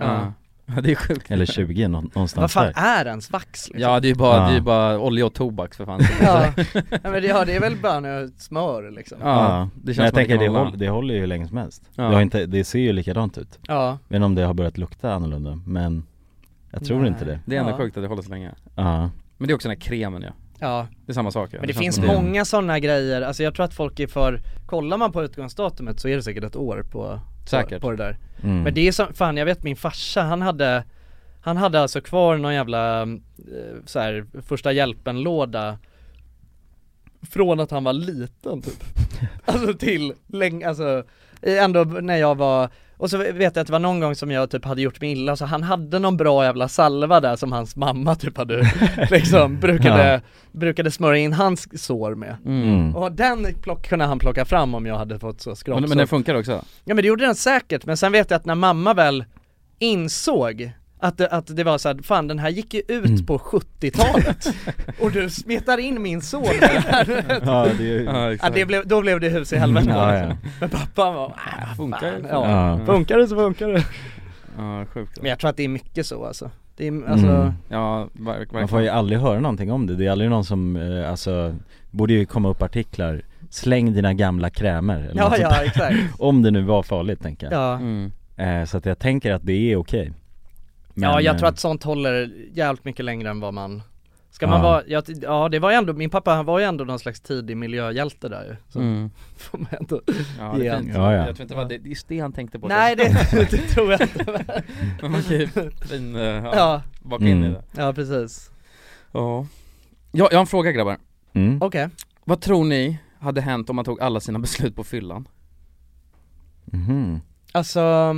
B: Ja, det är sjukt
D: Eller 20 nå- någonstans
A: Vad fan
D: där
A: är ens vax liksom?
B: Ja det är ju bara, det är ju
D: Ja.
B: bara olja och tobak för fan [LAUGHS]
A: Ja. ja men det, ja, det är väl bara nu smör liksom
B: Ja, det känns
D: Men jag
B: som att
D: tänker det,
B: kan hålla.
D: håll, det håller ju hur länge som helst
B: Ja.
D: det, har inte, det ser ju likadant ut
A: Ja,
D: Jag vet inte om det har börjat lukta annorlunda men Jag tror
A: Nej.
D: inte det
B: Det är ändå
A: Ja.
B: sjukt att det håller så länge
D: Ja,
B: Men det är också den här krämen ja,
A: ja.
B: det är samma sak ja.
A: Men det,
B: känns
A: finns
B: som-
D: det.
A: många sådana grejer, alltså jag tror att folk är för, kollar man på utgångsdatumet så är det säkert ett år på, på,
B: Säkert.
A: på det där
D: mm.
A: Men det är som, fan jag vet min farsa, han hade Han hade alltså kvar någon jävla eh, så här, första hjälpen låda Från att han var liten
B: [LAUGHS]
A: typ Alltså till länge, alltså eh, ändå b- när jag var och så vet jag att det var någon gång som jag typ hade gjort mig illa så han hade någon bra jävla salva där som hans mamma typ
B: [LAUGHS]
A: hade liksom brukade, brukade smörja in hans sår med
D: mm.
A: Och den plock, kunde han plocka fram om jag hade fått så skrap
B: men,
A: så
B: men den funkar också?
A: Ja men det gjorde den säkert, men sen vet jag att när mamma väl insåg att det, att det var såhär, fan den här gick ju ut på 70-talet och du smetar in min son med den här.
D: [LAUGHS] Ja det är ju ja,
A: ja, det blev, Då blev det hus i helvete
D: Mm,
A: [LAUGHS]
D: ja.
A: Men pappa var, "Ah,
B: Funkar ju.
A: fan, ja.
D: Ja.
A: Funkar det så funkar det
B: Ja, sjukt
A: Men jag tror att det är mycket så alltså Det är, alltså,
D: Mm.
B: Ja, verk-
D: Man får
B: verkligen
D: ju aldrig höra någonting om det, det är aldrig någon som, eh, alltså Borde ju komma upp artiklar Släng dina gamla krämer eller
A: ja
D: något sånt
A: ja
D: där.
A: exakt
D: Om det nu var farligt tänker jag
A: ja.
B: mm.
D: eh, Så att jag tänker att det är okej Men,
A: ja, jag tror
D: eh,
A: att sånt håller jävligt mycket längre än vad man Ska man
D: Ja.
A: vara, ja, ja det var ju ändå, min pappa han var ju ändå någon slags tidig miljöhjälte där ju Så
B: Mm.
A: får man ändå
B: Ja, det
A: Ja.
B: är fint.
D: Ja, ja.
B: Jag tror inte det var det, det är just det han tänkte på [LAUGHS]
A: Nej [LAUGHS] det, det tror jag inte
B: Men man kan ju fin, eh, ja,
A: Ja,
B: baka in i
D: Mm.
B: det
A: ja precis
B: Ja Jag, jag har en fråga grabbar
D: mm.
A: Okej,
B: Vad tror ni hade hänt om man tog alla sina [LAUGHS] beslut på fyllan?
D: Mhm.
A: alltså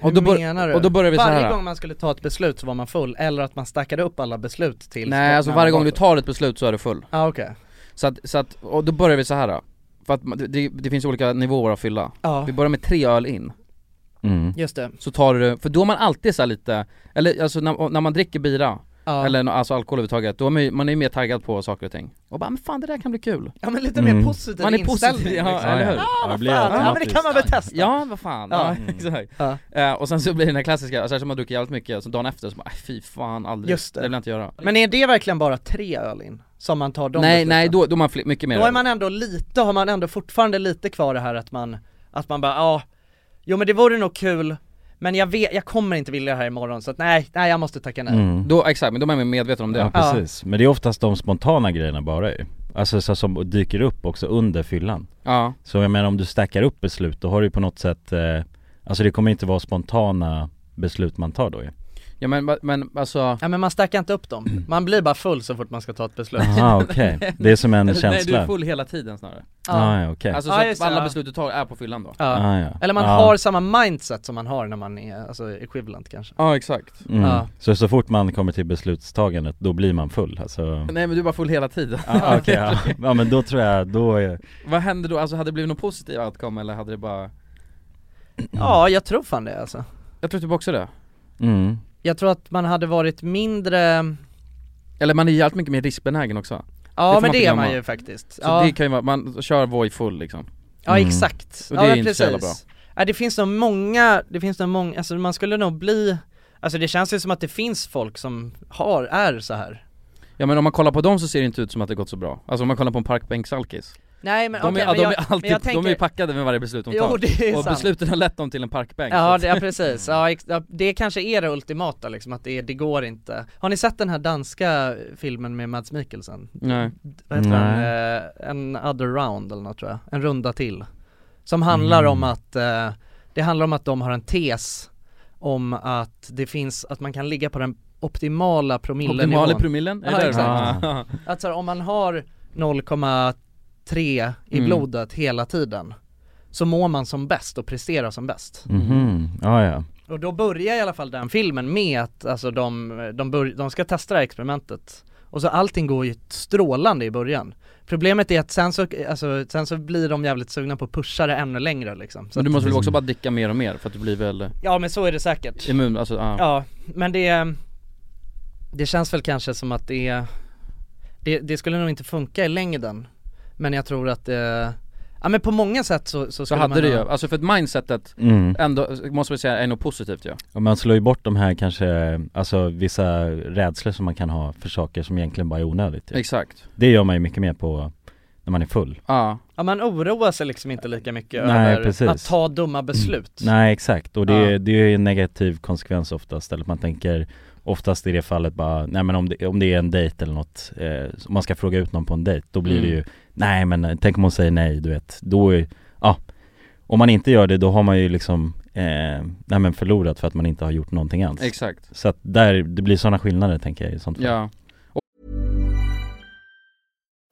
A: hur
B: Och då bör-
A: menar du?
B: och då börjar vi så
A: varje
B: här.
A: gång man skulle ta ett beslut så var man full, eller att man stackade upp alla beslut till
B: Nej alltså
A: när man
B: varje gång
A: var
B: du
A: full.
B: tar ett beslut så är du full
A: Ja ah, okej,
B: Så att, så att och då börjar vi så här. då. För att man- det, det finns olika nivåer av fylla
A: ja
B: Vi börjar med tre öl in
D: Mm.
A: just det,
B: Så tar du, för då är man alltid så här lite, eller alltså när, när man dricker bira
A: ja,
B: Eller nå- alltså alkohol överhuvudtaget, då är man ju, man är ju mer taggad på saker och ting Och bara men fan det där kan bli kul
A: ja men lite mer
D: Mm.
A: positiv
B: Man är
A: inställning
B: positiv, ja,
A: liksom.
B: eller hur?
D: Ja, det blir
A: Fan, ja men det kan man väl testa?
B: Ja vad fan,
A: Ja. Mm.
B: ja, exakt
A: Ja.
B: Eh, Och sen så blir det den här klassiska, alltså eftersom man dricker jävligt mycket, så dagen efter så bara "Aj, fy fan aldrig,
A: Just det.
B: det vill jag inte göra
A: Men är det verkligen bara tre öl in? Som man tar de
B: Nej
A: besluten?
B: nej, då, då är man fli- mycket mer
A: Då är man ändå lite, har man ändå fortfarande lite kvar det här att man, att man bara ja, jo men det vore nog kul men jag vet, jag kommer inte vilja det här imorgon så att nej, nej jag måste tacka nej.
D: Mm.
B: Då, exakt, men då är man mer medveten om det
D: Ja
B: ja.
D: precis, men det är oftast de spontana grejerna bara ju Alltså så, som dyker upp också under fyllan
B: Ja,
D: Så jag menar om du stackar upp beslut då har du ju på något sätt eh, Alltså det kommer inte vara spontana beslut man tar
B: [LAUGHS]
D: då ju
B: ja men, men alltså
A: Ja men man stackar inte upp
B: Mm.
A: dem, man blir bara full så fort man ska ta ett beslut
D: Jaha Ah, okej, det är som en
B: Eller, Alltså, Nej du
D: känsla
B: är full hela tiden snarare
D: ah, ja, okej
B: Alltså
A: Ja,
B: så
A: just
B: att
A: det,
B: alla
A: ja.
B: beslut du tar är på fyllan då
A: Ja.
D: ah, ja.
A: Eller man
D: Ja.
A: har samma mindset som man har när man är, alltså equivalent kanske
B: Ja exakt
D: mm.
A: ja.
D: Så så fort man kommer till beslutstagandet då blir man full alltså
B: Nej men du är bara full hela tiden
D: ah, [LAUGHS] okej, ja. ja men då tror jag, då är
B: Vad hände då, alltså hade det blivit någon positiv outcome eller hade det bara Mm.
A: Ja, jag tror fan det alltså
B: Jag tror typ också det
D: mm.
A: Jag tror att man hade varit mindre,
B: Eller man är jävligt mycket mer riskbenägen också
A: ja
B: får man
A: men
B: inte
A: det är
B: glömma.
A: man ju faktiskt
B: Så
A: ja.
B: det kan ju vara, man kör Voi full liksom
A: Ja
D: Mm.
A: exakt,
B: Och
A: ja
B: det är
A: men
B: inte så
A: precis.
B: jävla bra.
A: Ja, det finns nog många, det finns nog många, alltså man skulle nog bli, alltså det känns ju som att det finns folk som har, är så här.
B: Ja men om man kollar på dem så ser det inte ut som att det gått så bra Alltså om man kollar på en parkbänksalkis
A: Nej men
B: De,
A: okej,
B: är,
A: men
B: de
A: jag,
B: är alltid,
A: men jag
B: de är
A: tänker,
B: ju packade med varje beslut de tar
A: Jo det är
B: Och
A: sant.
B: besluten har lett dem till en parkbänk
A: Ja,
B: så
A: det, ja precis, ja, ex, ja, det kanske är det ultimata liksom, att det, är- det går inte. Har ni sett den här danska filmen med Mads Mikkelsen?
B: att- Nej
A: Vad heter den?
D: Nej.
A: Eh, en other round eller något tror jag, en runda till. Som handlar om att, eh, det handlar om att de har en tes om att det finns, att man kan ligga på den optimala promillenivån.
B: Optimala promillen, är
A: Ja,
B: det det
A: exakt.
B: Ja.
A: Att så här, om man har 0,3 i
B: Mm.
A: blodet hela tiden så mår man som bäst och presterar som bäst.
D: Mhm, ah, ja
A: Och då börjar i alla fall den filmen med att alltså de, de, bör, de ska testa det här experimentet Och så allting går ju strålande i början Problemet är att sen så, alltså, sen så blir de jävligt sugna på att pusha det ännu längre liksom så
B: Men du
A: att,
B: måste väl också bara dricka mer och mer för att du blir väl
A: Ja men så är det säkert
B: immun, alltså ja.
A: Ja, men det Det känns väl kanske som att det är Det, det skulle nog inte funka i längden Men jag tror att det Ja men på många sätt så, så
B: Så
A: skulle
B: hade
A: man
B: det
A: ha-
B: ju, alltså för att mindsetet
D: mm.
B: ändå, måste vi säga, är något positivt ju
D: Och man slår ju bort de här kanske, alltså vissa rädslor som man kan ha för saker som egentligen bara är onödigt typ.
B: Exakt
D: Det gör man ju mycket mer på när man är full
B: Ja,
A: Ja man oroar sig liksom inte lika mycket
D: Nej,
A: över
D: precis.
A: att ta dumma beslut
D: Nej exakt, och det, är-
A: Ja.
D: det är ju en negativ konsekvens oftast, eller man tänker oftast i det fallet bara, nej men om det, om det är en dejt eller något, eh, om man ska fråga ut någon på en dejt, då blir
B: Mm.
D: det ju, nej men eh, tänk om hon säger nej, du vet, då är, ja om man inte gör det då har man ju liksom, eh, nej men förlorat för att man inte har gjort någonting alls
A: Alltså-
B: exakt
D: Så att där, det blir sådana skillnader tänker jag i sånt fall
B: Ja,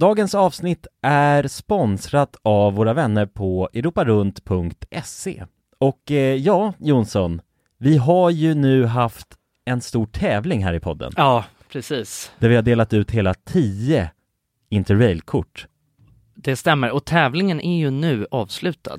D: Dagens avsnitt är sponsrat av våra vänner på europarunt.se. Och eh, ja, Jonsson, vi har ju nu haft en stor tävling här i podden
A: Ja, precis.
D: där vi har delat ut hela 10 Interrail-kort.
A: Det stämmer. Och tävlingen är ju nu avslutad.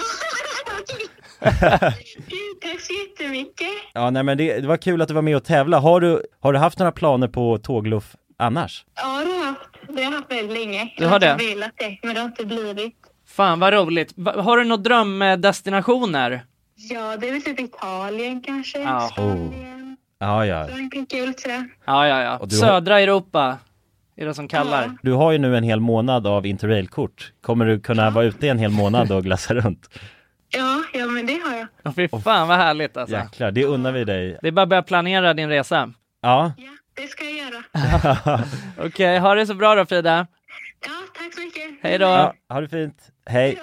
H: [LAUGHS] Tack så jättemycket.
D: Ja, nej men det, det var kul att du var med och tävla. Har du, har du haft några planer på tågluff annars?
H: Ja, det har jag haft. Det har jag haft väldigt länge.
A: Du har det?
H: Jag har velat det, men det har inte blivit.
A: Fan vad roligt. Va- Har du några drömdestinationer?
H: Ja, det är väl typ Italien kanske.
A: Ja.
D: Oh. Ja, ja.
H: Frankrike kul tror jag.
A: Ja, ja, ja.
D: Och du har-
A: Södra Europa är det som kallar.
D: Du har ju nu en hel månad av interrailkort. Kommer du kunna vara ute en hel månad och glassa runt?
H: Ja, ja, men det har jag.
A: Åh, fy fan vad härligt alltså.
D: Jäklar, det unnar vi dig.
A: Det är bara att börja planera din resa.
D: Ja,
H: Det ska jag göra.
A: Okej, ha det så bra då Frida.
H: Ja, tack så mycket.
A: Hej då.
D: ja ha det fint. Hej.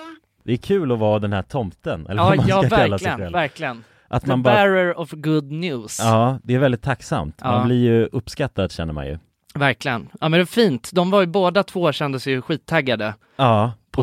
D: Det är kul att vara den här tomten, eller
A: Ja,
D: vad man
A: ja
D: ska kalla sig
A: verkligen,
D: själv.
A: verkligen.
D: Att
A: The
D: man bara-
A: bearer of good news.
D: Ja, det är väldigt tacksamt. Man
A: Ja.
D: blir ju uppskattad känner man ju.
A: Verkligen. Ja men det är fint. De var ju båda två kändes ju skittaggade
D: Ja,
A: på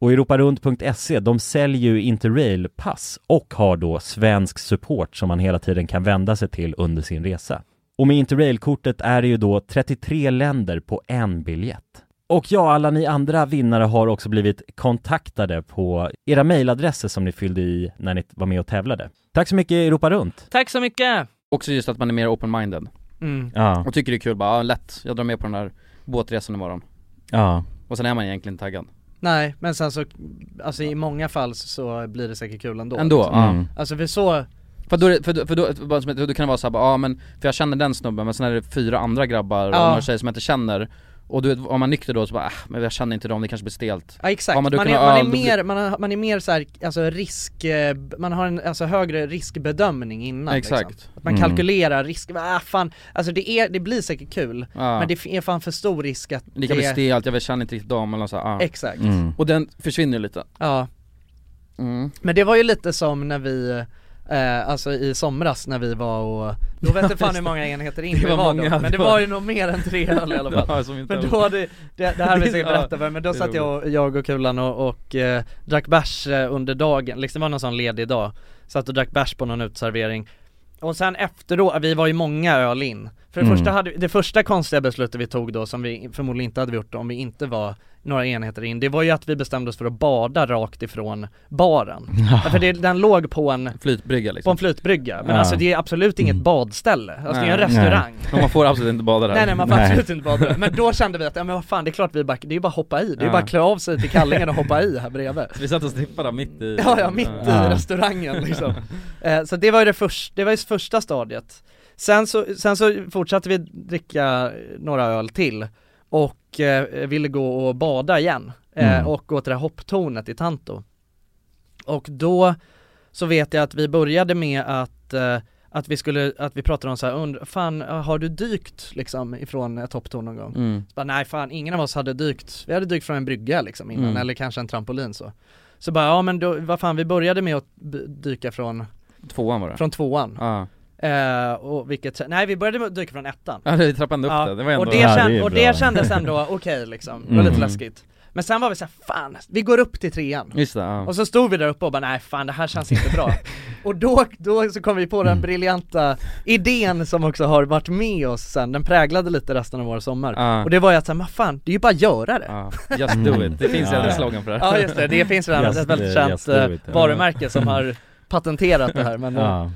D: Och europarunt.se, E, de säljer ju Interrail-pass och har då svensk support som man hela tiden kan vända sig till under sin resa. Och med Interrail-kortet är det ju då 33 länder på en biljett. Och ja, alla ni andra vinnare har också blivit kontaktade på era mejladresser som ni fyllde i när ni var med och tävlade. Tack så mycket Europa Runt!
A: Tack så mycket!
B: Också just att man är mer open-minded
A: Mm.
D: Ja,
B: och tycker det är kul bara, ja, lätt, jag drar med på den här båtresan imorgon
D: ja,
B: Och sen är man egentligen taggad
A: Nej, men sen så, alltså i många fall så blir det säkert kul ändå.
B: Ändå, ja
D: Mm.
A: Alltså för så,
B: För då, är det- för, då- för då, för då, för då kan det vara såhär, ja men, för jag känner den snubben men sen är det fyra andra grabbar och
A: Ja.
B: några tjejer som jag inte känner Och du vet, om man är nykter då så bara, äh, men jag känner inte dem, det kanske blir stelt
A: ja exakt,
B: Ja, men
A: man,
B: då kan
A: är,
B: man-
A: man är
B: ja, då blir-
A: mer, man, har, man är mer så här, alltså risk, eh, man har en alltså, högre riskbedömning innan
B: Exakt.
A: liksom. Att man
D: Mm.
A: kalkylerar risk, ah fan, alltså det, är, det blir säkert kul,
B: Ja.
A: men det är fan för stor risk att
B: Det kan bli
A: det,
B: stelt, jag känner inte riktigt dem eller så här, ja.
A: exakt,
D: mm.
B: Och den försvinner ju lite
A: ja
B: mm.
A: Men det var ju lite som när vi, eh, alltså i somras när vi var och, då vet inte fan hur många enheter in
B: Det
A: vi var,
B: var
A: då,
B: många,
A: men det
B: det var-
A: var ju nog mer än tre öl i alla fall
B: Ja, som inte
A: Men då, det, det, det här vill jag säkert
B: Typ. [LAUGHS] Ja,
A: berätta för men då
B: det är
A: satt jag, och- jag och Kulan och, och eh, drack bärs eh, under dagen, liksom det var någon sån ledig dag Satt och drack bärs på någon uteservering Och sen efteråt, vi var ju många öl in För det
D: Mm.
A: första hade, vi- det första konstiga beslutet vi tog då som vi förmodligen inte hade gjort om vi inte var några enheter in, det var ju att vi bestämde oss för att bada rakt ifrån
B: [LAUGHS]
A: baren. För det, den låg på en,
B: Flytbrygga
A: på
B: liksom
A: en flytbrygga, men
D: Ja.
A: alltså det är absolut inget badställe, alltså det är en
B: Mm. Nej.
A: restaurang.
B: Men man får absolut inte bada där
A: Nej nej man får
D: Nej.
A: absolut inte bada där. men då kände vi att, ja men vad fan det är klart vi backar, det är ju bara att hoppa i, det är ju
B: Ja.
A: bara att klä av sig till kallingen och hoppa i här bredvid
B: [LAUGHS] Vi satt och snippade mitt i
A: Ja ja, mitt i
D: Ja.
A: restaurangen
D: [LAUGHS]
A: liksom eh, Så det var ju det, först, det var ju första stadiet sen så, sen så fortsatte vi dricka några öl till och eh, ville gå och bada igen eh,
D: Mm.
A: och gå till det här hopptornet i Tanto Och då så vet jag att vi började med att eh, att vi skulle, att vi pratade om så här, und, fan har du dykt liksom ifrån ett hopptorn någon gång?
B: Mm.
A: Så bara, nej fan ingen av oss hade dykt, vi hade dykt från en brygga liksom innan
B: Mm.
A: eller kanske en trampolin så Så bara, ja men då, vad fan vi började med att b- dyka från,
B: Tvåan var det.
A: från tvåan
B: Ja.
A: eh, och vilket, nej vi började med att dyka från ettan
B: Ja, det är trappan upp det. Det var ändå-
A: och, det
B: Ja, det
A: kän-
B: är
A: och
B: bra.
A: det kändes ändå okej liksom, det var lite
B: Mm.
A: läskigt Men sen var vi såhär, fan, vi går upp till trean
B: Just det, ja.
A: Och så stod vi där uppe och bara nej fan det här känns inte
B: [LAUGHS]
A: bra Och då, då så kom vi på
B: Mm.
A: den briljanta idén som också har varit med oss sen, den präglade lite resten av vår sommar
B: Ja.
A: Och det var ju att såhär, "Men fan, det är ju bara att göra det
B: Just do it. Det finns redan en slogan för det här.
A: Ja just det, det finns
B: [LAUGHS]
A: redan
B: Just-
A: ett väldigt
B: eh,
A: känt
B: just do
A: eh,
B: it, ja.
A: varumärke som
B: [LAUGHS]
A: har patenterat det här men eh,
B: Ja.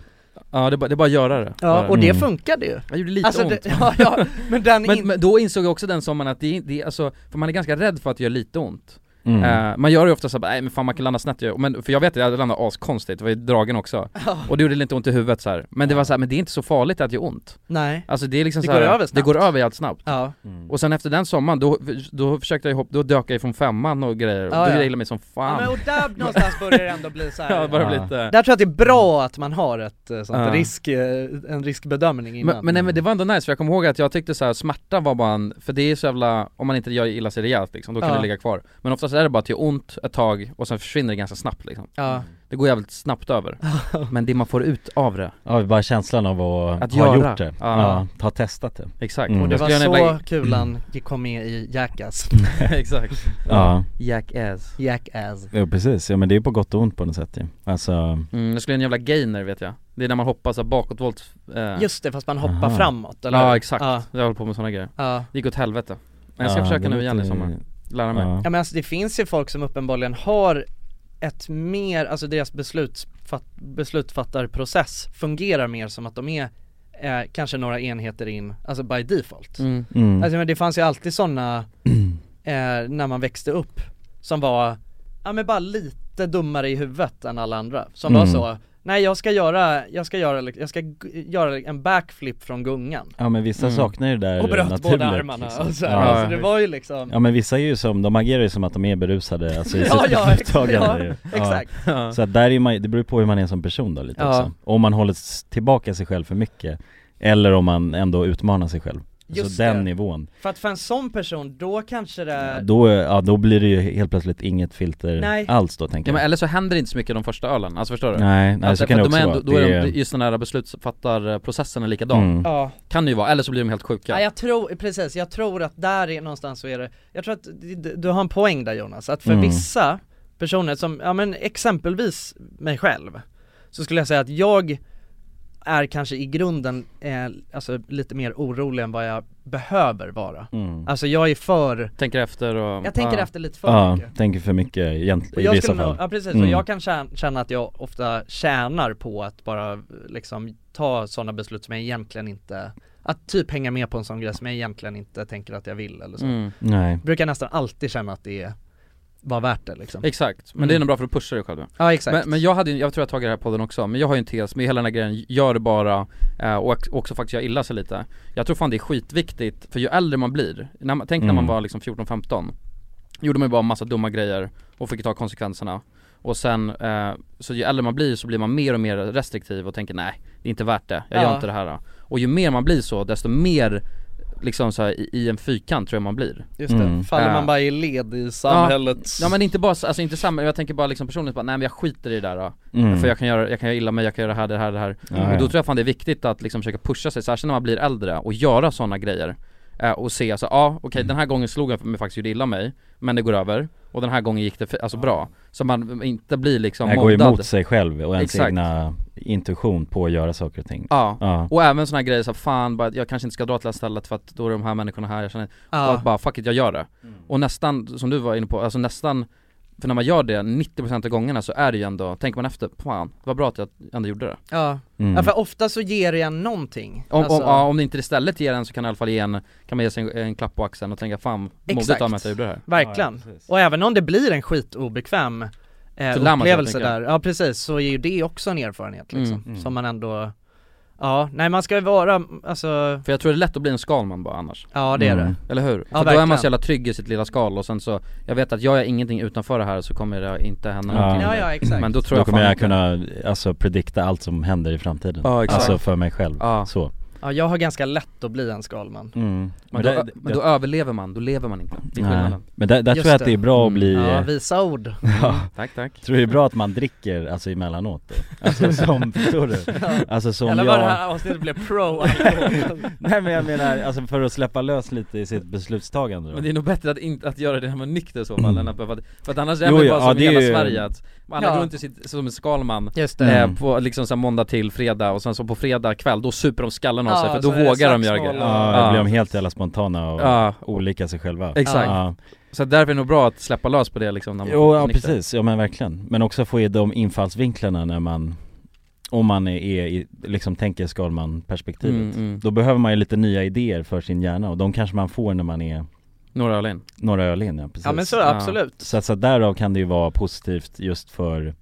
B: Ja, det är bara, det är bara att göra det.
A: Ja,
B: Bara.
A: och det funkade ju
B: Jag gjorde lite
A: Alltså,
B: ont.
A: det- [LAUGHS] ja, ja, men den
B: men,
A: in-
B: men då insåg jag också den sommaren att det, det alltså, för man är ganska rädd för att det gör lite ont.
D: Mm.
B: Eh, man gör ju ofta såhär, nej men fan man kan landa snett ju. men, för jag vet att jag landade askonstigt, det var ju dragen också.
A: [LAUGHS] Ja.
B: Och det gjorde lite ont i huvudet så här. men det var såhär, men det är inte så farligt att det gör ont.
A: Nej.
B: Alltså det är liksom
A: Det
B: så här,
A: går över
B: Det
A: snabbt.
B: går över jävligt snabbt.
A: Ja.
B: Och sen efter den sommaren, då, då försökte jag hoppa, då dök jag ifrån femman och grejer, och
A: Ja,
B: då
A: ja.
B: grejade jag mig som fan.
A: Ja,
B: [LAUGHS]
A: men och där någonstans börjar det ändå bli så här.
B: Ja, det börjar bli lite-
A: Där tror jag att det är bra att man har ett eh, sånt
B: Ja.
A: risk, eh, en riskbedömning innan
B: Men, men, nej, men det var ändå nice för jag kommer ihåg att jag tyckte så här, smärta var bara en, för det är så jävla, om man inte gör illa sig rejält liksom, då kan
A: Ja.
B: det ligga kvar Men oftast är det bara att det gör ont ett tag och sen försvinner det ganska snabbt liksom
A: Ja.
B: Det går jävligt snabbt över Men det man får ut av det
D: Ja, bara känslan av att,
B: Att
D: ha
B: göra.
D: gjort det.
B: Ja.
D: Ja. ha testat det.
B: Exakt.
A: Och det
B: Jag
A: var
B: skulle
A: så
B: gärna Mm. lägga-
A: kulan gick- kom med i
B: [LAUGHS]
A: Jackass
B: Exakt
D: [LAUGHS] Ja.
B: Jackass
A: Jackass
D: Ja precis, ja men det är på gott och ont på något sätt ju. Alltså,
B: mm, Jag skulle göra en jävla gainer vet jag Det är när man hoppar så här bakåtvolt eh.
A: Just det, fast man hoppar
B: Aha.
A: framåt, eller hur?
B: Ja exakt,
A: Ja.
B: jag håller på med sådana grejer
A: Ja.
B: Det gick åt helvete Men jag ska
D: Ja,
B: försöka
D: det
B: nu igen i
D: låter-
B: sommar, lära mig
A: Ja men alltså det finns ju folk som uppenbarligen har ett mer, alltså deras beslutsfatt, beslutsfattarprocess fungerar mer som att de är eh, kanske några enheter in, alltså by default.
B: Mm.
D: Mm.
A: Alltså men det fanns ju alltid
D: [CLEARS THROAT]
A: sådana eh, när man växte upp som var, ja men bara lite dummare i huvudet än alla andra. Som var
D: Mm.
A: så, nej jag ska göra, jag ska göra, jag ska g- göra en backflip från gungan.
D: ja men vissa
A: Mm.
D: saknar ju det där
A: Och bröt
D: naturligt,
A: båda armarna
D: liksom.
A: och så här. Alltså, det var ju liksom
D: Ja men vissa är ju som, de agerar ju som att de är berusade alltså, i
A: Ja,
D: sitt
A: ja, ex-
D: upptagande
A: ja,
D: ju.
A: exakt. Ja.
D: Så att där är man, ju- det beror ju på hur man är som person då lite
A: Ja.
D: också Om man håller s- tillbaka sig själv för mycket Eller om man ändå utmanar sig själv
A: Just
D: Så den
A: det.
D: nivån
A: För att för en sån person, då kanske det...
D: då, ja, då blir det ju helt plötsligt inget filter
A: Nej.
D: alls då tänker
B: Ja,
D: jag
B: men eller så händer det inte så mycket de första ölen, alltså förstår du?
D: Nej, nej,
B: Att-
D: så kan
B: för
D: det
B: att de är
D: också
B: ändå,
D: vara.
B: Då är
D: Det
B: de,
D: är-
B: just den här beslutsfattarprocessen är likadan
D: Mm.
A: Ja.
B: Kan ju vara, eller så blir de helt sjuka
A: Ja, jag tror, precis, jag tror att där är någonstans så är det, jag tror att d- d- du har en poäng där Jonas, att för
B: Mm.
A: vissa personer som, ja men exempelvis mig själv, så skulle jag säga att jag är kanske i grunden, eh, alltså lite mer orolig än vad jag behöver vara.
D: Mm. Ah.
A: Alltså jag är för
B: Tänker efter och
A: Jag tänker
B: ja.
A: efter lite för
D: Ja,
A: mycket.
D: tänker för mycket
A: Och
D: egentligen i
A: jag
D: vissa
A: skulle
D: fall
A: nog, ja precis,
D: Mm.
A: och jag kan tjä- känna att jag ofta tjänar på att bara liksom ta sådana beslut som jag egentligen inte, att typ hänga med på en sån grej som jag egentligen inte tänker att jag vill eller så.
B: Mm.
D: Nej.
A: Brukar nästan alltid känna att det är, var värt det liksom.
B: Exakt, men det är nog bra för att pusha dig själv
A: Ja, exakt.
B: Men, men jag hade ju- jag tror jag tagit det här podden också, men jag har ju en tes med hela den här grejen, gör det bara eh, och ex- också faktiskt göra illa sig lite Jag tror fan det är skitviktigt, för ju äldre man blir, när man, tänk när man
D: Mm.
B: var liksom 14-15 Gjorde man ju bara massa dumma grejer och fick ta konsekvenserna Och sen, eh, så ju äldre man blir så blir man mer och mer restriktiv och tänker nej, det är inte värt det, jag
A: Ja.
B: gör inte det här Och ju mer man blir så, desto mer liksom så här, i, i en fyrkant tror jag man blir
A: Just det, faller
B: Eh,
A: man bara i led i samhället.
B: Ja, ja men inte bara, alltså inte samhället, jag tänker bara liksom personligt bara, nej men jag skiter i det där då.
A: Mm.
B: För jag kan göra, jag kan göra illa mig, jag kan göra det här, det här, det här
A: Ja,
B: Och
A: ja.
B: då tror jag fan det är viktigt att liksom försöka pusha sig, särskilt när man blir äldre, och göra sådana grejer Eh, och se alltså, ja okej den här gången slog jag mig faktiskt, gjorde illa mig Men det går över, och den här gången gick det för, alltså bra Så man inte blir liksom
D: Jag går
B: moddad.
D: emot sig själv och ens
B: Exakt.
D: egna intuition på att göra saker och ting
B: Ja,
D: ja.
B: och även såna här grejer som fan bara, jag kanske inte ska dra till det här stället för att då är de här människorna här, jag känner,
A: Ja.
B: och att bara fuck it, jag gör det.
D: Mm.
B: Och nästan, som du var inne på, alltså nästan, för när man gör det 90% av gångerna så är det ju ändå, tänker man efter, fan, det var bra att jag ändå gjorde det.
A: Ja.
B: Mm.
A: ja, för ofta så ger det en någonting.
B: Om,
A: Alltså-
B: om, ja, om det inte istället ger en så kan det i alla fall ge en, kan man ge sig en, en klapp på axeln och tänka fan, modigt av mig att jag gjorde det här.
A: Verkligen. och även om det blir en skitobekväm eh,
B: Så lär man sig,
A: upplevelse
B: tänker jag.
A: där, ja precis, så är ju det också en erfarenhet liksom,
B: Mm. Mm.
A: som man ändå Ja, nej man ska ju vara, alltså
B: För jag tror det är lätt att bli en skalman bara annars
A: Ja, det är Mm.
B: Eller hur? För då är
A: verkligen.
B: man så jävla trygg i sitt lilla skal och sen så Jag vet att jag är ingenting utanför det här så kommer det inte hända någonting Men då tror
D: då
B: jag
D: kommer
B: fan
D: jag
B: inte-
D: kunna, alltså, predikta allt som händer i framtiden
B: Ja, exakt.
D: Alltså för mig själv, så
A: Ja jag har ganska lätt att bli en skalman
D: Mm.
B: Men,
D: Men
B: då,
D: det-
B: men då överlever man, då lever man inte Det är
D: Nej.
B: skillnaden
D: Men där, där
A: Just
D: tror jag att det är bra att
A: Mm.
D: bli
B: eh,
A: Ja, visa
B: [LAUGHS]
A: ord.
D: ja.
A: Mm.
B: Tack, tack.
D: Tror det är bra att man dricker, alltså emellanåt då.
B: [LAUGHS]
D: Alltså som, förstår du? Alltså som
A: Eller
D: jag
A: bara det här avsnittet blev pro [LAUGHS] alkohol.
D: [LAUGHS] Nej men jag menar, alltså för att släppa lös lite i sitt beslutstagande då
B: Men det är nog bättre att, inte, att göra det när man är nykter i så fall,
D: Mm.
B: än att behöva, för att annars är
D: Jo,
B: man ju
D: ja,
B: bara
D: ja,
B: som
D: det
B: i hela
D: är ju-
B: Sverige att alla
A: Ja.
B: går runt i sitt, som en skalman
A: Just det.
D: Mm.
B: Eh, på liksom så här måndag till fredag och sen så på fredag kväll, då super de skallen av
A: Ja,
B: sig för
A: så
B: då
A: är det
B: vågar de göra
A: slagsmål
B: grejer
A: och-
D: Ja, då
B: Ja.
D: blir de helt jävla spontana och
B: Ja.
D: olika sig själva
B: Exakt.
D: ja.
B: Så därför är det nog bra att släppa lös på det liksom när man
D: Jo, ja
B: nykter.
D: precis, ja men verkligen Men också få i de infallsvinklarna när man Om man är, är i, liksom tänker skalman-perspektivet
B: Mm, mm.
D: Då behöver man ju lite nya idéer för sin hjärna och de kanske man får när man är
B: Några öl in
D: Några öl in, ja precis
A: Ja, men så, Ja. absolut.
D: Så, att- så att därav kan det ju vara positivt just för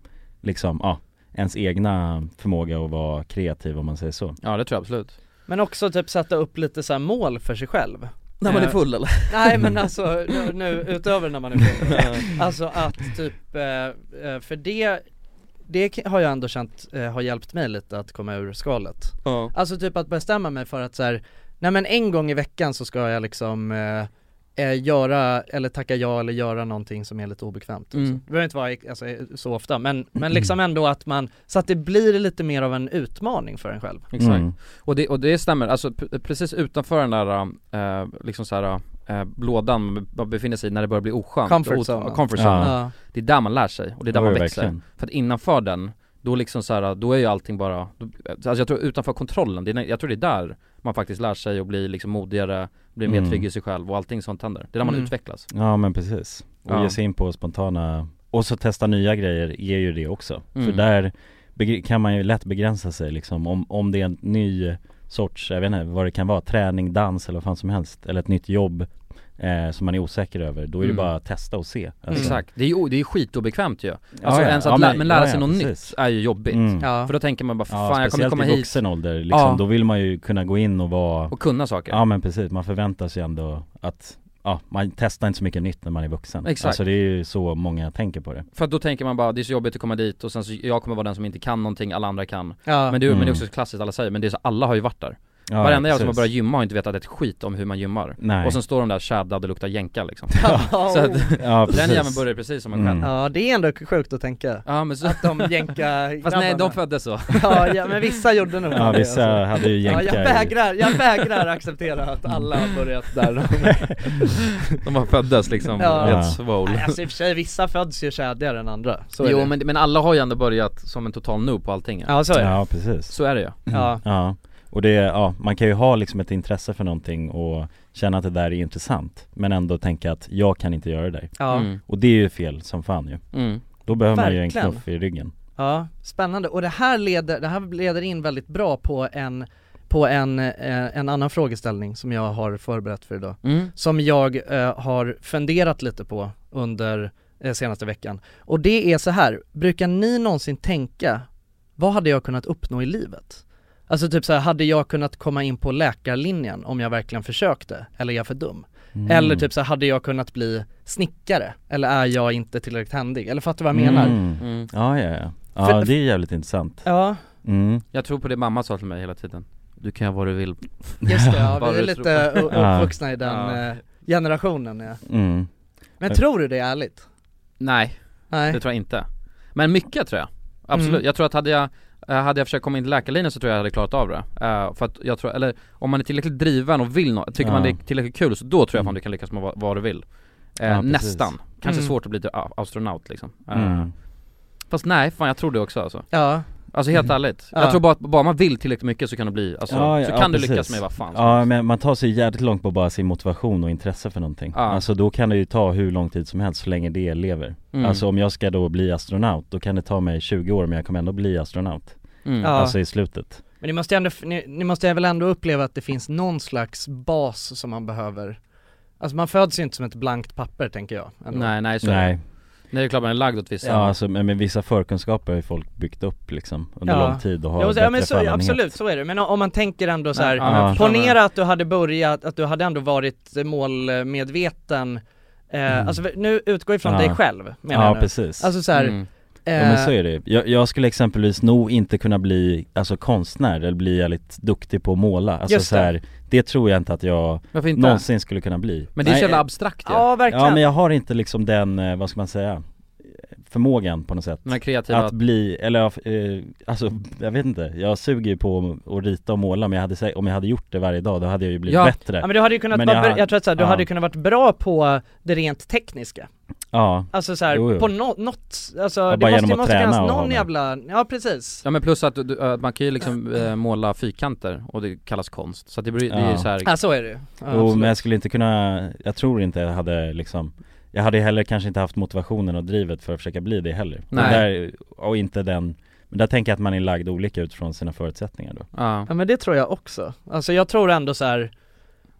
D: liksom, ja Ens egna förmåga att vara kreativ om man säger så
B: Ja det tror jag absolut
A: Men också typ sätta upp lite så här mål för sig själv
B: När man
A: Eh,
B: är full, eller?
A: Nej
B: [LAUGHS]
A: men alltså nu, nu utöver när man är full Alltså att typ, eh, eh, för det det k- har jag ändå känt eh, har hjälpt mig lite att komma ur skalet
B: Ja.
A: Alltså typ att bestämma mig för att så här, nej men en gång i veckan så ska jag liksom eh, eh, göra, eller tacka ja eller göra någonting som är lite obekvämt också.
B: Mm.
A: Det behöver inte vara i- alltså, eh, så ofta men, men liksom ändå att man, så att det blir lite mer av en utmaning för en själv
D: Mm.
B: Exakt. Och, det, och det stämmer, alltså p- precis utanför den där äh, liksom så här, äh, lådan man befinner sig i när det börjar bli oskönt
A: Comfort
B: och-
A: zone.
B: ja, comfort zone.
A: Ja. Ja.
B: Det är där man lär sig och det är där
D: Ja,
B: man
D: ja,
B: växer
D: verkligen.
B: För att innanför den, då liksom så här, då är ju allting bara då, Alltså jag tror utanför kontrollen, det är, när- jag tror det är där man faktiskt lär sig och blir liksom modigare Blir mer
D: Mm.
B: trygg i sig själv och allting sånt händer Det är där man
D: Mm.
B: utvecklas
D: Ja men precis, och
B: Ja.
D: ge sig in på spontana Och så testa nya grejer ger ju det också
B: Mm.
D: För där begr- kan man ju lätt begränsa sig liksom om, om det är en ny sorts, jag vet inte vad det kan vara, träning, dans eller vad fan som helst Eller ett nytt jobb eh, som man är osäker över, då är
B: Mm.
D: det bara att testa och se alltså.
B: Exakt, det är ju det är ju skitobekvämt ju Alltså
D: Ja, ja.
B: ens att
D: Ja,
B: lä-
D: men-
B: men lära
D: ja,
B: sig
D: ja,
B: något
D: precis.
B: nytt är ju jobbigt
D: Mm.
B: För då tänker man bara, för
D: Ja,
B: fan jag kommer
D: speciellt
B: komma
D: i
B: hit
D: vuxen ålder liksom,
B: Ja.
D: då vill man ju kunna gå in och vara
B: Och kunna saker
D: Ja men precis, man förväntar sig ändå att Ja, man testar inte så mycket nytt när man är vuxen
B: Exakt.
D: Alltså det är ju så många tänker på det
B: För att då tänker man bara, det är så jobbigt att komma dit och sen så, jag kommer vara den som inte kan någonting, alla andra kan
A: Ja.
B: men, det, är- men det är
D: Mm.
B: också klassiskt, alla säger, men det är så, alla har ju varit där
D: Ja,
B: Varenda jävel som har
D: precis.
B: börjat gymma har inte vetat ett skit om hur man gymmar
D: Nej.
B: Och sen står de där shaddade och luktar jänka [LAUGHS] liksom
A: [LAUGHS] Ja.
B: Så att,
A: Ja,
B: den
A: precis.
B: jäveln börjar precis som man själv
A: Ja det är ändå sjukt att tänka
B: Ja, men så...
A: Att de jänkar
B: [LAUGHS] Fast nej, de
A: grabbarna.
B: föddes så
A: ja, ja men vissa gjorde nog
D: Ja,
A: det, alltså.
D: vissa hade ju
A: ja,
D: jänkar
A: jag
D: i-
A: vägrar, jag vägrar acceptera att alla har börjat där
B: [LAUGHS] De har föddes liksom, helt svål
A: Nej, alltså i och för sig, vissa föds ju tjädigare än andra, så är
B: Jo
A: det.
B: men, men alla har ju ändå börjat som en total noob på allting
A: Ja, så är det.
D: Ja precis
B: Så är det ju
A: Ja.
D: Ja, och det, ja, man kan ju ha liksom ett intresse för någonting och känna att det där är intressant Men ändå tänka att jag kan inte göra det där
A: Ja. Mm.
D: Och det är ju fel som fan ju
A: Mm.
D: Då behöver man ju en
A: Verkligen.
D: knuff i ryggen
A: Ja, spännande. Och det här leder, det här leder in väldigt bra på en, på en, eh, en annan frågeställning som jag har förberett för idag.
B: Mm.
A: Som jag eh, har funderat lite på under eh, senaste veckan. Och det är så här, brukar ni någonsin tänka, vad hade jag kunnat uppnå i livet? Alltså typ så här, hade jag kunnat komma in på läkarlinjen om jag verkligen försökte? Eller är jag för dum?
I: Mm.
A: Eller typ så här, hade jag kunnat bli snickare? Eller är jag inte tillräckligt händig? Eller fattar du vad jag menar?
D: Mm. Ja ja ja, ja
A: För-
D: det är jävligt intressant
A: Ja.
D: mm.
B: Jag tror på det mamma sa till mig hela tiden Du kan göra vad du vill
A: Just det, ja,
B: [LAUGHS] Bara
A: vi är
B: du
A: lite
B: tror.
A: u- uppvuxna i den
B: Ja.
A: eh, generationen ja.
D: Mm.
A: Men tror du det är ärligt?
B: Nej,
A: Nej.
B: det tror jag inte. Men mycket tror jag. Absolut.
A: Mm.
B: Jag tror att hade jag, eh, hade jag försökt komma in till läkarlinjen så tror jag jag hade klarat av det. Eh, För att jag tror, eller om man är tillräckligt driven och vill något, tycker
D: Ja. Mm.
B: man det är tillräckligt kul så då tror jag fan du kan lyckas med vad, vad du vill. Eh,
D: Ja, precis.
B: Nästan. Kanske
A: Mm.
B: svårt att bli till a- astronaut liksom. Eh,
D: Mm.
B: Fast nej, fan jag tror det också alltså.
A: Ja.
B: Alltså helt ärligt. Jag
D: Mm. Ja.
B: tror bara att bara man vill tillräckligt mycket så kan det bli, alltså,
D: Ja, ja,
B: så
D: ja,
B: kan du
D: precis.
B: lyckas med vad fan som
D: Ja men man tar sig jävligt långt på bara sin motivation och intresse för någonting
B: Ja.
D: Alltså då kan det ju ta hur lång tid som helst så länge det lever
B: Mm.
D: Alltså om jag ska då bli astronaut, då kan det ta mig 20 år men jag kommer ändå bli astronaut
A: Mm. Ja.
D: Alltså i slutet
A: Men ni måste, ju ändå, ni, ni måste ju väl ändå uppleva att det finns någon slags bas
D: Mm.
A: som man behöver Alltså man föds ju inte som ett blankt papper tänker jag ändå.
B: Nej, nej så
D: Nej.
B: är det. Nej det är klart man är lagd åt vissa
D: Ja, alltså, men med vissa förkunskaper har ju folk byggt upp liksom under
A: Ja.
D: lång tid och har
A: Ja, och så- ja, men så,
D: fallenhet.
A: absolut, så är det. Men o- om man tänker ändå så här,
D: Ja, ja, jag förstår
A: ponera att du hade börjat, att du hade ändå varit eh, målmedveten eh, Alltså nu utgår ifrån
D: Mm. Ja.
A: dig själv menar
D: Ja,
A: jag nu.
D: precis.
A: Alltså så här,
D: Mm.
A: eh,
D: Ja men så är det jag, jag skulle exempelvis nog inte kunna bli, alltså konstnär eller bli jävligt duktig på att måla Alltså
A: Just
D: så här, det tror jag inte att jag
B: Varför inte?
D: någonsin skulle kunna bli
B: Men det är så
D: Nej,
B: jävla
D: eh,
B: abstrakt ju.
A: Ja, verkligen.
D: Ja men jag har inte liksom den, eh, vad ska man säga, förmågan på något sätt
B: Den här kreativa-
D: Att bli, eller ja, eh, alltså jag vet inte, jag suger ju på att- att rita och måla men jag hade, sä- om jag hade gjort det varje dag då hade jag ju blivit bättre
A: Ja men du hade ju kunnat
D: Men
A: vara,
D: jag
A: jag,
D: har-
A: jag tror att så här, du
D: ja.
A: hade ju kunnat varit bra på det rent tekniska
D: Ja
A: Alltså så här,
B: Jo, jo.
A: på nå- något, alltså
B: Ja,
A: det
B: bara
A: måste,
B: genom
A: det
B: att
A: måste
B: träna
A: finnas
B: och ha
A: någon
B: det.
A: jävla, ja precis
B: Ja men plus att, du- du, att man kan ju liksom eh, måla fyrkanter och det kallas konst, så att det, blir, det är ju
D: Ja.
B: så här...
A: Ja, så är det ju. Ja,
D: Jo men jag skulle inte kunna, jag tror inte jag hade liksom Jag hade heller kanske inte haft motivationen och drivet för att försöka bli det heller
B: Nej.
D: Och, där, och inte den, men där tänker jag att man är lagd olika utifrån sina förutsättningar då
B: Ja.
A: men det tror jag också. Alltså jag tror ändå så här,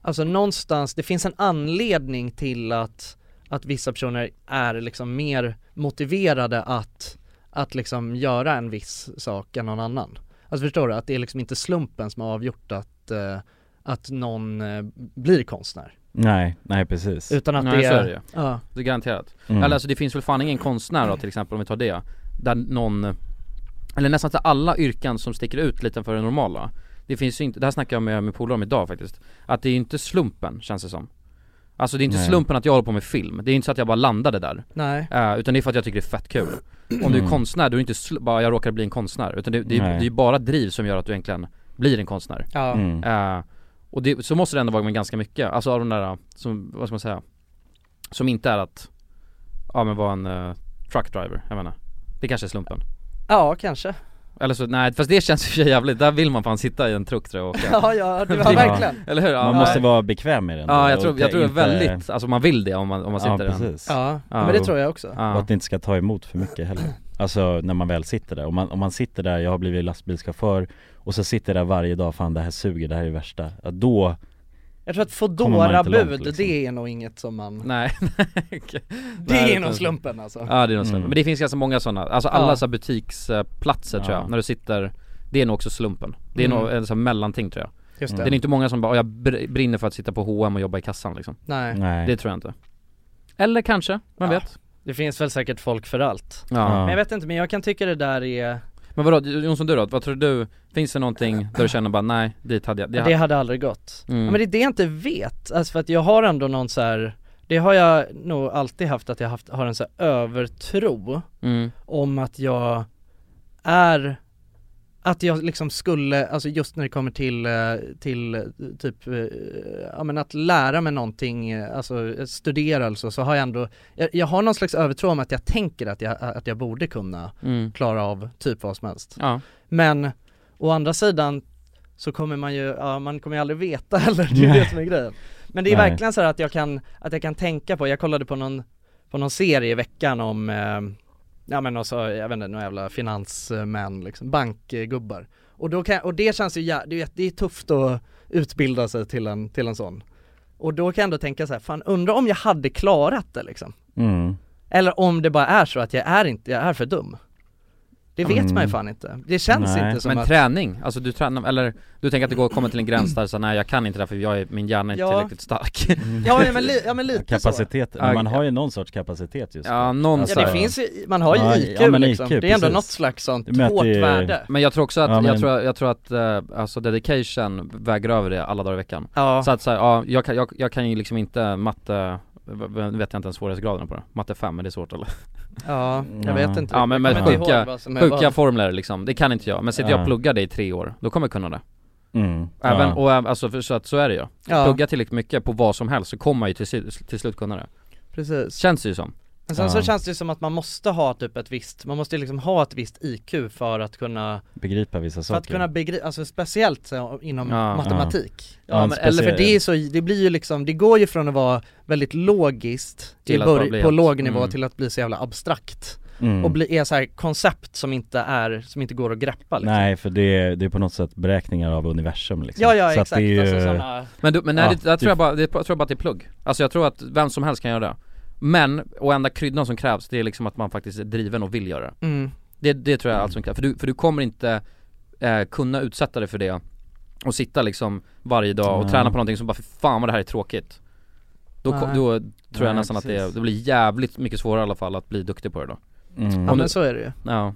A: alltså någonstans, det finns en anledning till att, att vissa personer är liksom mer motiverade att, att liksom göra en viss sak än någon annan. Alltså förstår du? Att det är liksom inte slumpen som har avgjort att, eh, att någon eh, blir konstnär.
D: Nej, nej precis
A: Utan att
B: Nej,
A: det
B: så
A: är-
B: är det ju.
A: ja.
B: Det är garanterat.
D: Mm.
B: Eller alltså det finns väl fan ingen konstnär då till exempel om vi tar det, där någon, eller nästan så alla yrken som sticker ut lite för det normala. Det finns ju inte, det här snackade jag med, med polare om idag faktiskt, att det är ju inte slumpen känns det som. Alltså det är inte
A: Nej.
B: slumpen att jag håller på med film, det är inte så att jag bara landade där.
A: Nej.
B: Eh, utan det är för att jag tycker det är fett kul. Om du är
D: Mm.
B: konstnär, då är det inte sl- bara jag råkar bli en konstnär, utan det, det, är-
D: Nej.
B: det är ju bara driv som gör att du egentligen blir en konstnär.
A: Ja. Mm.
B: Eh, och det, så måste det ändå vara med ganska mycket, alltså av de där, som, vad ska man säga, som inte är att, ja men vara en eh, truckdriver, jag menar. Det kanske är slumpen.
A: Ja, kanske.
B: Eller så, nej fast det känns i och för sig jävligt, där vill man fan sitta i en truck tror jag och åka.
A: [LAUGHS] Ja, ja, det- ja, verkligen.
B: Eller hur? Ja,
D: Man måste vara bekväm i den
B: Ja jag
D: och
B: tror, jag tror det är
D: inte-
B: väldigt, alltså man vill det om man, om man sitter
D: Ja precis
B: i den
D: Och att det inte ska ta emot för
A: [CLEARS THROAT]
D: mycket heller Alltså när man väl sitter där, om man, om man sitter där, jag har blivit lastbilschaufför Och så sitter jag där varje dag, fan det här suger, det här är det värsta ja, Då
A: Jag tror att
D: kommer man inte långt,
A: Foodora-bud,
D: liksom.
A: det är nog inget som man...
B: Nej, [LAUGHS]
A: Det
B: Nej,
A: är nog
B: utan-
A: slumpen alltså
B: Ja det är nog slumpen,
A: Mm.
B: men det finns ganska många sådana, alltså alla
A: Ja.
B: så här butiksplatser tror
A: Ja.
B: jag, när du sitter Det är nog också slumpen, det är
A: Mm.
B: nog en sån här mellanting tror jag
A: Just det.
B: det. är inte många som bara, "Åh, jag br- brinner för att sitta på H&M och jobba i kassan liksom
A: Nej.
D: Nej.
B: Det tror jag inte Eller kanske, man vet
A: Det finns väl säkert folk för allt
B: Ja.
A: Men jag vet inte, men jag kan tycka det där är
B: Men vadå, Jonsson du då? Vad tror du? Finns det någonting där du känner bara nej, dit hade jag
A: Det, hade aldrig gått.
B: Mm.
A: Ja, men det är det jag inte vet, alltså för att jag har ändå någon så här det har jag nog alltid haft, att jag haft, har en så här övertro
B: Mm.
A: om att jag är, att jag liksom skulle, alltså just när det kommer till, eh, till eh, typ, eh, ja men att lära mig någonting, eh, alltså eh, studera alltså, så har jag ändå, jag, jag har någon slags övertro om att jag tänker att jag, att jag borde kunna
B: Mm.
A: klara av typ vad som helst.
B: Ja.
A: Men å andra sidan så kommer man ju, ja, man kommer ju aldrig veta [LAUGHS] heller, det är ju det som är grejen. Men det är
I: Nej.
A: verkligen så här att jag kan, att jag kan tänka på, jag kollade på någon, på någon serie i veckan om, eh, ja men alltså, jag vet inte, några jävla finansmän liksom, bankgubbar. Och, då kan, och det känns ju, jä- det är, ju- det är tufft att utbilda sig till en, till en sån. Och då kan jag ändå tänka så här, fan undrar om jag hade klarat det liksom.
D: Mm.
A: Eller om det bara är så att jag är inte, jag är för dum. Det vet
B: Mm.
A: man ju fan inte. Det känns inte som
B: Men
A: att...
B: träning, alltså du tränar, eller du tänker att det går att komma till en gräns där så nej jag kan inte därför jag är, min hjärna är inte
A: Ja.
B: tillräckligt stark
A: [LAUGHS] Ja, ja, men li- ja, men lite så.
D: Kapacitet, men man har ju någon sorts kapacitet just
B: Ja, någon
A: Ja, det Alltså- finns ju, man har ju
B: alltså. Ja,
A: IQ
B: ja, men
A: liksom.
B: IQ,
A: det är ändå
B: precis.
A: något slags sånt
B: Du mäter
A: hårt
B: ju-
A: värde.
B: Men jag tror också att,
D: Ja,
B: jag
D: men-
B: tror, jag tror att eh, alltså dedication väger över det alla dagar i veckan
A: Ja.
B: Så att så här, ja, jag kan, jag, jag kan ju liksom inte matte, v- v- vet jag inte ens svårighetsgraden på det Matte 5, men det är svårt eller?
A: Ja, jag vet inte.
B: Ja men,
A: Jag
B: men
A: kommer inte ihåg
B: sjuka,
A: vad som är
B: sjuka
A: vad.
B: formler liksom, det kan inte jag Men sitter jag
D: Ja.
B: och pluggar det i tre år, då kommer jag kunna det
D: Mm,
B: Även,
D: ja.
B: och även- alltså för, så att så är det ju
A: Ja.
B: Plugga tillräckligt mycket på vad som helst så kommer man ju till, si- till slut kunna det
A: Precis.
B: Känns det ju som
A: Men sen så känns det ju som att man måste ha typ ett visst, man måste ju liksom ha ett visst IQ för att kunna
D: Begripa vissa
A: För att
D: saker
A: kunna begripa, alltså speciellt så, inom
D: Ja.
A: matematik
D: Ja.
A: Ja,
D: Ja,
A: men,
D: speciellt.
A: eller för det är så, det blir ju liksom, det går ju från att vara väldigt logiskt i
D: Till att bara
A: bör-
D: bli
A: på
D: helt-
A: låg nivå
D: mm.
A: till att bli så jävla abstrakt
D: Mm.
A: Och bli, är så här koncept som inte är, som inte går att greppa liksom.
D: Nej för det är, det är på något sätt beräkningar av universum liksom
A: Ja, ja,
D: Så att
A: exakt.
D: det är ju...
A: Alltså, såna-
B: Men, du, men nej,
D: Ja,
B: det, jag tror
D: det-
B: jag bara, det, jag tror bara att det är plugg Alltså jag tror att vem som helst kan göra det Men, och enda kryddan som krävs det är liksom att man faktiskt är driven och vill göra det
A: Mm.
B: det, det tror jag är allt som krävs, för du, för du kommer inte eh, kunna utsätta dig för det och sitta liksom varje dag och
D: Nej.
B: träna på någonting som bara för fan vad det här är tråkigt Då, ko-
A: Nej.
B: då tror jag
A: Nej,
B: nästan att
A: precis.
B: det, det blir jävligt mycket svårare i alla fall att bli duktig på det då
D: Mm.
A: Ja men så är det ju
B: Ja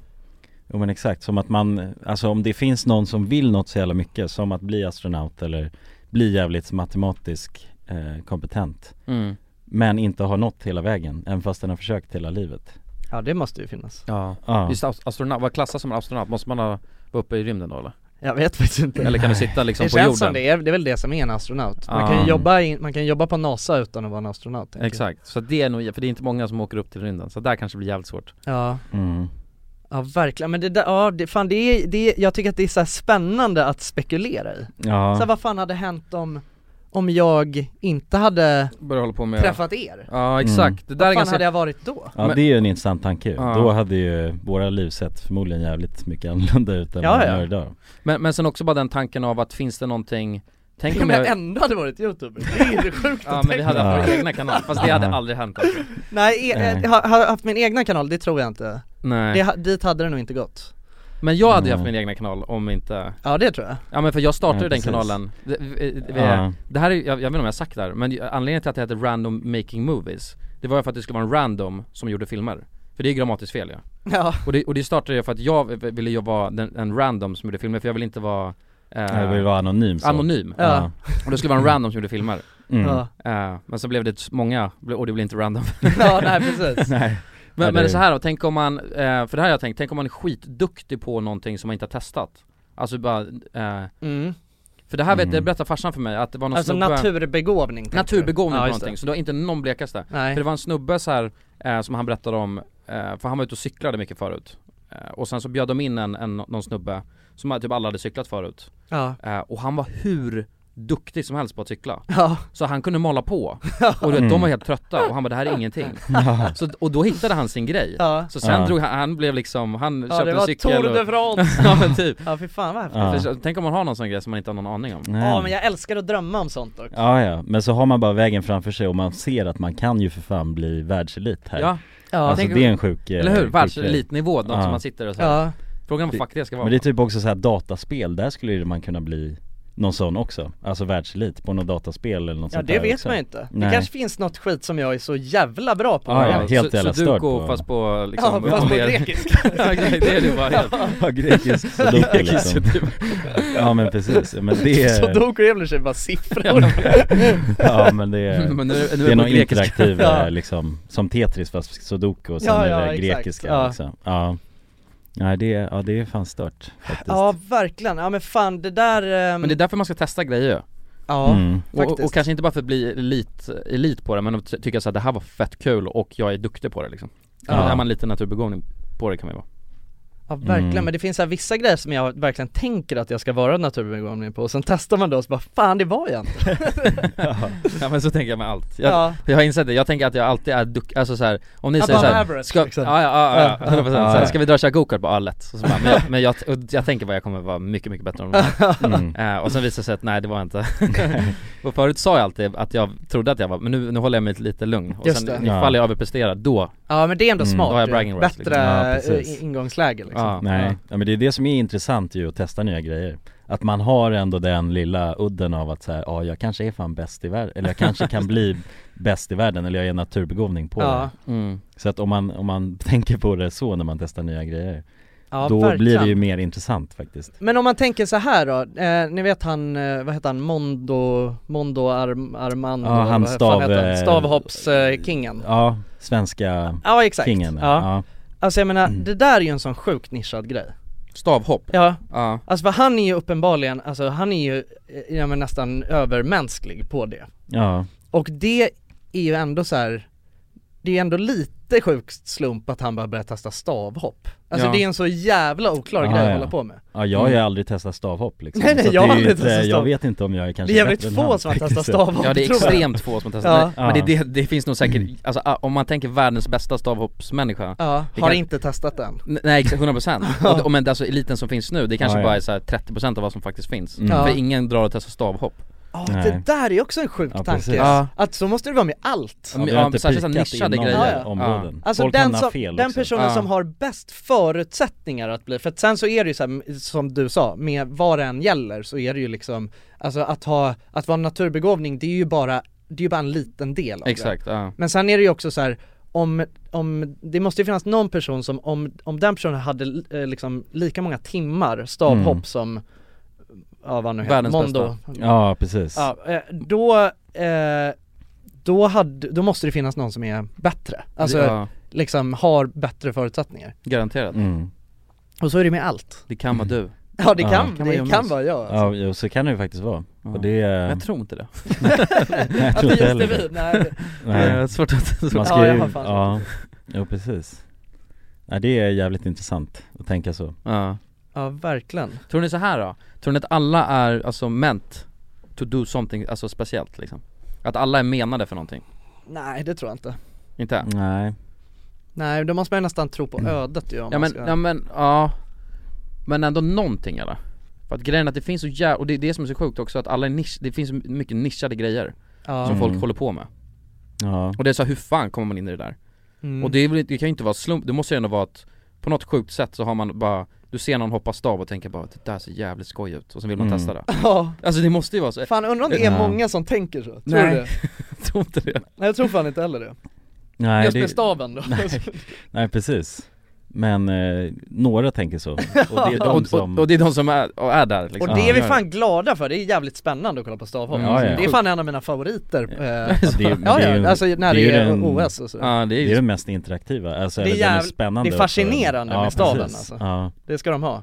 D: Jo men exakt, som att man, alltså om det finns någon som vill något så jävla mycket, som att bli astronaut eller bli jävligt matematisk eh, kompetent
B: Mm.
D: Men inte har nått hela vägen, även fast den har försökt hela livet
A: Ja det måste ju finnas
B: Ja,
D: Ja.
B: Just ast- astronaut, vad klassas som en astronaut? Måste man ha, vara uppe i rymden då eller?
A: Jag vet faktiskt inte
B: Eller kan du sitta liksom
A: Det
B: på
A: känns som
B: jorden?
A: det är, det är väl det som är en astronaut Man
B: Ja.
A: kan ju jobba, in, man kan jobba på NASA utan att vara en astronaut tänker jag.
B: Exakt, så det är nog, för det är inte många som åker upp till rymden, så där kanske blir jävligt svårt
A: Ja
D: Mm.
A: Ja verkligen, men det där, ja det, fan det är, det är, jag tycker att det är så här spännande att spekulera i
D: Ja.
A: Så här, vad fan hade hänt om, om jag inte hade
B: Börja hålla på med
A: träffat er?
B: Ja exakt,
D: Mm.
B: det där
A: Vad
B: är
A: fan
B: ganska
A: hade jag varit då?
D: Ja
B: Men-
D: det är ju en intressant tanke ju.
B: Ja.
D: Då hade ju våra liv sett förmodligen jävligt mycket annorlunda ut än
A: Ja,
D: vad de
A: ja.
D: gör idag
B: Men, men sen också bara den tanken av att finns det någonting Tänk
A: Om [LAUGHS]
B: om
A: jag
B: jag...
A: ändå hade varit youtuber, det är ju sjukt
B: Ja
A: att
B: men
A: tänka.
B: vi hade haft
D: Ja.
B: vår egna kanal, fast det hade
D: Ja.
B: aldrig hänt alltså.
A: Nej, e-
D: Nej.
A: eh, ha- ha- haft min egna kanal, det tror jag inte det,
B: Nej
A: ha- Dit hade det nog inte gått
B: Men jag hade ju haft
D: Mm.
B: min egna kanal om inte
A: Ja det tror jag
B: Ja men för jag startade
D: Ja,
B: den
D: precis.
B: kanalen det, vi, vi,
D: Ja.
B: det här är, jag, jag vet inte om jag har sagt det här, men anledningen till att det heter random making movies Det var ju för att det skulle vara en random som gjorde filmer För det är grammatiskt fel ja
A: Ja,
B: Och det, och det startade jag för att jag ville ju vara den, en random som gjorde filmer för jag ville inte vara eh,
D: Det vill vara anonym så
B: Anonym,
A: Ja.
B: och det skulle vara en random som gjorde filmer
D: Mm.
A: ja,
B: Eh, Men så blev det t- många, ble- och det blev inte random
A: ja nej
B: [LAUGHS]
A: precis
D: Nej
B: Men,
D: Ja, det-
B: men det är så här då, tänk om man, eh, för det här har jag tänkt, tänk om man är skitduktig på någonting som man inte har testat Alltså bara, eh,
A: mm.
B: för det här vet
D: Mm.
B: det berättade farsan för mig att det var någon
A: Alltså
B: snubbe
A: naturbegåvning tänker du?
B: Naturbegåvning
A: ja,
B: på
A: just det.
B: någonting, så det var inte någon blekaste
A: Nej,
B: För det var en snubbe så här eh, som han berättade om, eh, för han var ute och cyklade mycket förut eh, Och sen så bjöd de in en, en, någon snubbe som typ alla hade cyklat förut
A: ja,
B: eh, Och han var hur duktig som helst på att cykla
A: ja,
B: Så han kunde
A: [LAUGHS]
B: mala på, och du vet, de var helt trötta och han bara det här är ingenting
D: Mm. [LAUGHS] Ja.
B: så, och då hittade han sin grej
A: ja
B: Så sen
D: Ja.
B: drog han, han blev liksom, han
A: Ja
B: köpte
A: det
B: en
A: var
B: cykel
A: Tour de
B: och,
A: France!
B: [LAUGHS] Ja men typ,
A: Ja fy fan vad häftigt!
D: Ja.
B: För så- tänk om man har någon sån grej som man inte har någon aning om
A: Ja
D: Nej.
A: men jag älskar att drömma om sånt dock
D: Ja, ja, men så har man bara vägen framför sig och man ser att man kan ju för fan bli världselit här.
B: Ja,
A: Ja,
D: alltså
B: tänk-
D: det är en sjuk eh,
B: eller hur?
D: sjuk grej.
B: Världselitnivå, något
D: Ja.
B: som man sitter och så här.
A: ja,
B: frågan vad fuck det ska vara
D: Men det är typ också så här dataspel, där skulle ju man kunna bli någon sån också. Alltså världselit på något dataspel eller något
A: ja
D: sånt
A: det
D: där
A: vet
D: också.
A: man ju inte Det
D: Nej.
A: kanske finns något skit som jag är så jävla bra på
D: Ja, ja, helt
B: så,
D: jävla
B: så du
D: störd
B: går
D: på-
B: fast på
A: Ja,
B: liksom,
A: fast på
B: mer-
A: grekiska
B: [LAUGHS]
A: [LAUGHS]
B: Ja, exakt, det är du bara helt
D: [LAUGHS] Ja, grekisk sudoku liksom. Ja men precis, Ja, men det
A: Så
D: är,
A: då är väl i och för sig
B: [LAUGHS]
A: bara siffror
D: ja men det är,
B: Men nu, nu
D: det är
B: på
D: någon
B: grekiska.
D: interaktiv
A: Ja.
D: eh, liksom, som Tetris fast sudoku och sen
A: Ja,
D: är
A: ja,
D: det
A: exakt.
D: grekiska
A: Ja.
D: liksom. Ja. Nej det, är- ja det är fan stört faktiskt.
A: Ja verkligen, ja men fan det där ehm,
B: Men det är därför man ska testa grejer
A: Ja, [LAUGHS]
D: Mm.
B: och,
A: faktiskt
B: och kanske inte bara för att bli elit, elit på det men att ty- tycka såhär det här var fett kul och jag är duktig på det liksom
D: Ja.
B: Är man lite naturbegåvning på det kan man ju vara
A: Ja verkligen,
D: Mm.
A: men det finns så här vissa grejer som jag verkligen tänker att jag ska vara naturbegåvning på och sen testar man det och så bara fan det var jag inte
B: [LAUGHS] Ja men så tänker jag med allt Jag,
A: Ja,
B: jag har insett det, jag tänker att jag alltid är duk- alltså såhär, om ni
A: Ja,
B: säger
A: bara
B: såhär,
A: average,
B: ska,
A: liksom.
B: ja, ja, ja, ja,
A: Ja.
B: 100%
D: Ja,
B: såhär,
D: ja.
B: ska vi dra köra gokart? Bara, ja lätt, och så bara, men, jag, men jag, och jag tänker bara jag kommer vara mycket, mycket bättre än de här.
D: Mm.
B: Eh, och sen visade det sig att nej det var jag inte [LAUGHS] Och förut sa jag alltid att jag trodde att jag var, men nu, nu håller jag mig lite lugn Och
A: Just
B: sen
A: det.
B: ifall jag överpresterar, då,
A: ja men det är ändå
D: Mm.
A: smart
B: Då har jag
A: ju.
B: bragging rights,
A: Bättre
D: liksom. Ja,
A: eh,
D: precis.
A: ingångsläge liksom
B: ja,
D: Nej, ja, men det är det som är intressant ju att testa nya grejer Att man har ändå den lilla udden av att säga, ja jag kanske är fan bäst i världen, eller jag kanske
A: [LAUGHS]
D: kan bli bäst i världen, eller jag är en naturbegåvning på
A: Ja,
D: det
B: ja. Mm.
D: Så att om man, om man [LAUGHS] tänker på det så när man testar nya grejer,
A: ja
D: då
A: verkligen.
D: blir det ju mer intressant faktiskt
A: Men om man tänker så här då, eh, ni vet han, eh, vad heter han, Mondo, Mondo Arm, Armando,
D: Ja, han
A: vad fan heter han?
D: stav, eh,
A: stavhoppskingen
D: Ja, svenska
A: Ja exakt,
D: kingen Mm.
A: ja. alltså jag menar det där är ju en sån sjukt nischad grej
B: Stavhopp,
A: Ja,
B: ja
A: alltså för han är ju uppenbarligen, alltså han är ju eh, ja, men nästan övermänsklig på det
D: ja,
A: Och det är ju ändå så här. det är ju ändå lite sjukt slump att han bara börjar testa stavhopp Alltså
B: Ja.
A: det är en så jävla oklar
D: Ja,
A: grej att
D: ja.
A: hålla på med
D: ja jag har ju aldrig testat stavhopp liksom
A: Mm. Nej, nej,
D: Så att
A: jag
D: det är
A: har
D: ju
A: aldrig testat
D: Jag
A: stavhopp.
D: vet inte om jag är
A: Det
D: kanske
A: är jävligt
D: bättre än
A: få
D: han,
A: som har testat
D: faktiskt.
A: stavhopp
B: Ja det är
A: tror jag.
B: extremt få som har testat
D: Ja.
B: Men det, det, det finns nog säkert, alltså ah, om man tänker världens bästa stavhoppsmänniska
A: Ja,
B: Det
A: har
B: kan-
A: inte testat den
B: N- Nej exakt, 100% och, och men alltså eliten som finns nu, det kanske
D: Ja, ja.
B: bara är såhär 30% av vad som faktiskt finns
D: Mm.
A: Ja.
B: För ingen drar och testar stavhopp
A: Ja,
D: Nej.
A: det där är också en sjuk
D: Ja,
A: tanke.
D: precis. Ja.
A: Att så måste det vara med allt.
B: Ja, men- Ja, ja, inte särskilt så här pikat nischade inom grejer. områden.
A: Alltså
D: Folk
A: den,
D: hamnar
A: som,
D: fel
A: den
D: också.
A: personen
D: Ja.
A: som har bäst förutsättningar att bli, för att sen så är det ju så här, som du sa, med vad det än gäller så är det ju liksom, alltså att ha, att vara en naturbegåvning det är ju bara, det är ju bara en liten del av
B: Exakt,
A: det.
B: ja.
A: Men sen är det ju också så här om, om, det måste ju finnas någon person som, om, om den personen hade eh, liksom lika många timmar stavhopp
D: Mm.
A: som, ja vad nu heter,
D: Världens
A: Mondo
D: bästa. Ja, precis.
A: Ja, eh, då, eh, då, hade, då måste det finnas någon som är bättre, alltså
B: Ja.
A: liksom har bättre förutsättningar
B: Garanterat
D: Mm.
A: Och så är det med allt
B: Det kan vara du
A: Ja det kan, det kan,
B: Jonas.
A: vara jag alltså.
D: Ja, jo, så kan det ju faktiskt vara. Och det...
B: Men jag tror inte det.
D: Nej, [LAUGHS] jag
B: Att det
D: tror inte
B: just är
D: heller
B: vi, nej. Det är svårt att- svårt
D: Man
B: att-
D: ska
B: Ja,
D: ju,
B: jag
D: ja,
B: har fan
D: ja, jo precis. Nej det är jävligt intressant att tänka så.
B: [LAUGHS] Ja.
A: Ja verkligen
B: Tror ni så här då? Tror ni att alla är alltså meant to do something, alltså speciellt liksom? Att alla är menade för någonting?
A: Nej det tror jag inte
B: Inte?
D: Nej
A: Nej då måste man ju nästan tro på ödet ju om
B: Ja
A: man
B: men,
A: ska...
B: ja men, ja Men ändå någonting eller? För att grejen är att det finns så jävla, och det är det som är så sjukt också att alla är nisch, det finns så mycket nischade grejer
A: Ja.
B: Som folk
D: Mm.
B: håller på med
D: Ja.
B: Och det är så här, hur fan kommer man in i det där?
A: Mm.
B: Och det, är väl, inte- det kan ju inte vara slump, det måste ju ändå vara att På något sjukt sätt så har man bara Du ser någon hoppa stav och tänker bara det där ser jävligt skoj ut och sen vill man
D: Mm.
B: testa det
A: Ja.
B: Alltså det måste ju vara så
A: Fan undrar om det är
B: Ja.
A: många som tänker så, tror
B: Nej.
A: du det?
B: tror inte det
A: Nej jag tror fan inte heller det
D: Nej,
A: Just med
D: det-
A: staven då
D: [LAUGHS] Nej, nej precis. Men eh, några tänker så. Och det är
A: Ja.
D: de
A: Och-
D: som...
B: och det är de som är, och är där liksom
A: Och det är vi
D: Ja.
A: fan glada för, det är jävligt spännande att kolla på stavhopp
D: Ja, ja.
A: Det är fan en av mina favoriter eh,
D: [LAUGHS] Ja, det är- men
A: ja,
D: det är ju-
A: ja, alltså när
D: det är
A: det är,
D: ju den-
A: OS och så
D: Ja, det är ju
B: liksom-
D: det mest interaktiva, alltså,
A: Det är
D: eller den är
A: jävligt-
D: spännande
A: det är
D: också.
A: fascinerande
D: Ja,
A: med staven
D: precis.
A: alltså
D: Ja,
A: Det ska de ha,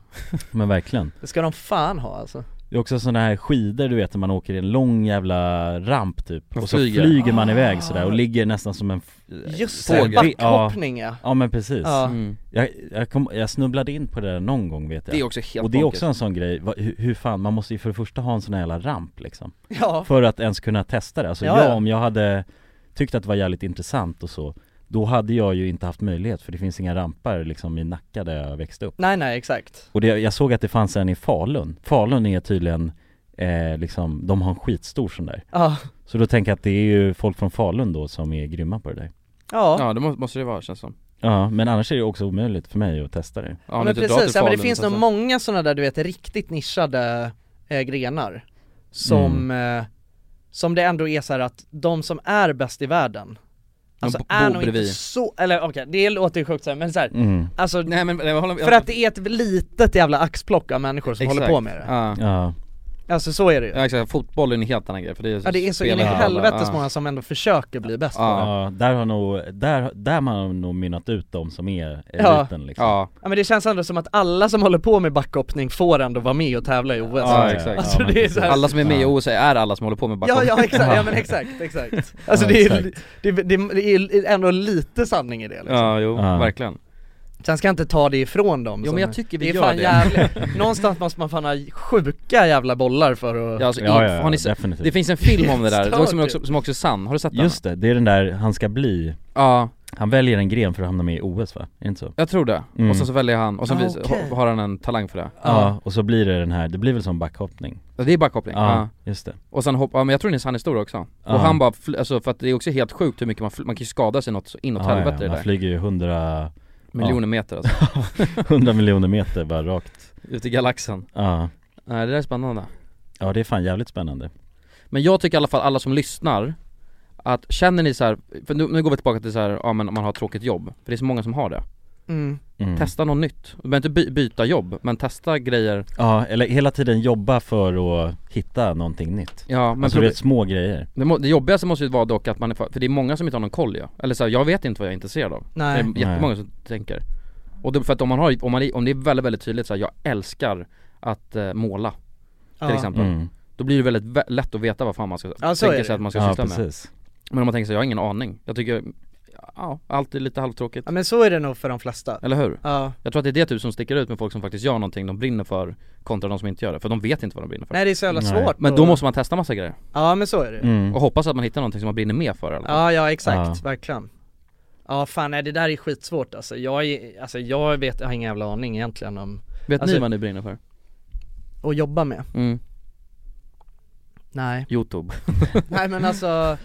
D: men verkligen.
A: det ska de fan ha alltså
D: Det är också sådana här skidor du vet när man åker i en lång jävla ramp typ
B: Och
D: och, så
B: flyger.
D: flyger, man iväg sådär och ligger nästan som en f-
A: Just
D: fågel.
A: det, backhoppning, ja.
D: ja Ja men precis
A: Ja.
B: Mm.
D: jag, jag, kom, jag snubblade in på det där någon gång vet jag
B: Det är också helt
D: Och det är
B: bonkers.
D: också en sån grej, va, hur, hur fan, man måste ju för det första ha en sån här jävla ramp liksom
A: Ja.
D: För att ens kunna testa det, alltså
A: Ja, ja.
D: jag om jag hade tyckt att det var jävligt intressant och så Då hade jag ju inte haft möjlighet för det finns inga rampar liksom i Nacka där jag växte upp
A: Nej nej exakt
D: och det, jag såg att det fanns en i Falun. Falun är tydligen, eh, liksom, de har en skitstor sån där.
A: Ja.
D: Så då tänker jag att det är ju folk från Falun då som är grymma på det där.
A: Ja
B: Ja det må- måste det vara känns som
D: Ja, men annars är det också omöjligt för mig att testa det.
A: Ja, men precis, ja, men det finns nog många sådana där du vet riktigt nischade eh, grenar Som,
D: Mm.
A: eh, som det ändå är så här att de som är bäst i världen Alltså
B: bo-
A: är
B: bor
A: nog inte
B: bredvid.
A: så, eller okej det låter ju sjukt så här, men så här,
D: Mm.
A: alltså
B: Nej, men, jag håller,
A: För att det är ett litet jävla axplock av människor som håller på med det
B: Ja.
D: ja
A: Alltså så är det ju
B: Ja exakt, fotboll är en helt annan grej för det är
A: Ja det är så in i
B: spelar-
A: helvetes
B: Ja.
A: många som ändå försöker bli bäst på det
D: Ja, där har nog, där, där man har nog mynnat ut de som är
A: Ja.
D: eliten liksom.
B: Ja.
A: Ja men det känns ändå som att alla som håller på med backhoppning får ändå vara med och tävla i OS
B: Ja, exakt.
A: Alltså
B: Ja, men
A: det är så här...
B: Alla som är med i OS är alla som håller på med
A: Ja
B: backhoppning
A: ja
B: [LAUGHS]
A: exakt, ja men exakt, exakt Alltså
B: Ja,
A: det, är, det, det, det är ändå lite sanning i det liksom.
B: Ja jo, verkligen
A: Sen ska jag inte ta det ifrån dem
B: Jo,
A: som-
B: men jag tycker vi
A: det är
B: gör
A: fan
B: det. [LAUGHS]
A: jävligt- Någonstans måste man fan ha sjuka jävla bollar för att
B: Ja, alltså, i- har ni sett- Det finns en film om det där, det var som, också, som också är sann, har du sett den?
D: Just det, det är den där han ska bli
B: Ja
D: Han väljer en gren för att hamna med i OS va? Är det inte så?
B: Jag tror det,
D: Mm.
B: och sen så väljer han, och sen
D: Ah,
B: vis-
D: okej.
B: har han en talang för det
D: Ja, och så blir det den här, det blir väl som backhoppning?
B: Ja, det är backhoppning,
D: Ja,
B: ja.
D: just det.
B: Och sen hoppar, ja, men jag tror det är en sann historia också
D: Ja.
B: Och han bara, fl- alltså för att det är också helt sjukt hur mycket man, fl- man kan ju skada sig något så inåt
D: Ja, ja,
B: helvete i det
D: Man
B: där
D: flyger ju hundra
B: Miljoner meter alltså
D: 100 miljoner meter bara rakt
B: Ut i galaxen
D: Ja,
B: Nej det där är spännande
D: ja det är fan jävligt spännande
B: Men jag tycker i alla fall alla som lyssnar Att känner ni så här, för nu, nu går vi tillbaka till så här, ja men man har ett tråkigt jobb För det är så många som har det
A: Mm.
D: Mm.
B: Testa något nytt, du behöver inte by, byta jobb men testa grejer
D: Ja, eller hela tiden jobba för att hitta någonting nytt
B: Ja, men
D: Alltså du
B: proble-
D: vet små grejer
B: det, må, det jobbigaste måste ju vara dock att man är, för för det är många som inte har någon koll ja. Eller så här, jag vet inte vad jag är intresserad av
A: Nej.
B: Det är jättemånga som tänker Och det, för att om man har, om, man, är- om det är väldigt väldigt tydligt så här, jag älskar att eh, måla
A: Ja.
B: Till exempel
D: Mm.
B: Då blir det väldigt vä- lätt att veta vad fan man ska
A: Ja, så är
B: tänka
A: det.
B: sig att man ska
D: Ja,
B: syssla
D: precis.
B: med Men om man tänker så här, jag har ingen aning Jag tycker, ja, allt är lite halvtråkigt
A: Ja men så är det nog för de flesta
B: Eller hur?
A: Ja.
B: Jag tror att det är det typ som sticker ut med folk som faktiskt gör någonting de brinner för kontra de som inte gör det, för de vet inte vad de brinner för
A: Nej, det är så jävla Nej. svårt
B: Men
A: att-
B: då måste Mm. man testa massa grejer
A: Ja men så är det
D: Mm.
B: Och hoppas att man hittar någonting som man brinner mer för eller?
A: Ja ja exakt, verkligen Ja fan nej, det där är skitsvårt alltså, jag är, alltså jag vet, jag har ingen jävla aning egentligen om
B: Vet
A: alltså,
B: ni vad ni brinner för?
A: Att jobba med?
B: Mm.
A: Nej
B: Youtube
A: Nej men
B: [LAUGHS]
A: alltså,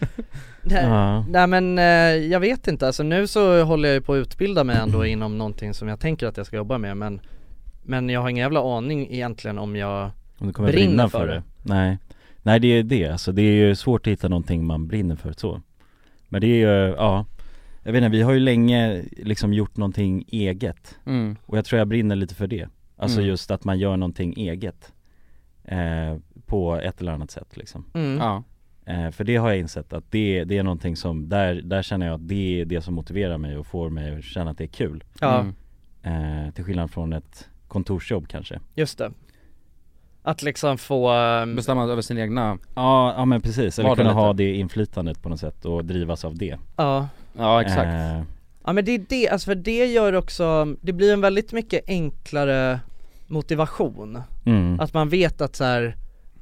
A: nej,
B: Ja.
A: nej men eh, jag vet inte alltså nu så håller jag ju på att utbilda mig ändå
B: Mm.
A: inom någonting som jag tänker att jag ska jobba med men Men jag har ingen jävla aning egentligen om jag
D: Om du kommer brinna för det. Nej. Nej det är det, alltså det är ju svårt att hitta någonting man brinner för så Men det är ju, ja Jag vet inte, vi har ju länge liksom gjort någonting eget
B: Mm.
D: Och jag tror jag brinner lite för det Alltså
B: Mm.
D: just att man gör någonting eget eh, På ett eller annat sätt liksom
A: Mm.
B: [LAUGHS] Ja.
D: eh, För det har jag insett att det, det är någonting som, där, där känner jag att det är det som motiverar mig och får mig att känna att det är kul
B: Mm.
A: Ja.
D: eh, Till skillnad från ett kontorsjobb kanske
A: Just det Att liksom få
B: Bestämma över sin egna
D: Ja, ja men precis, eller
B: Vardag
D: kunna
B: lite.
D: ha det inflytandet på något sätt och drivas av det
A: Ja
B: Ja exakt
D: Eh,
A: Ja men det är det, alltså för det gör också, det blir en väldigt mycket enklare motivation
D: Mm.
A: Att man vet att så här,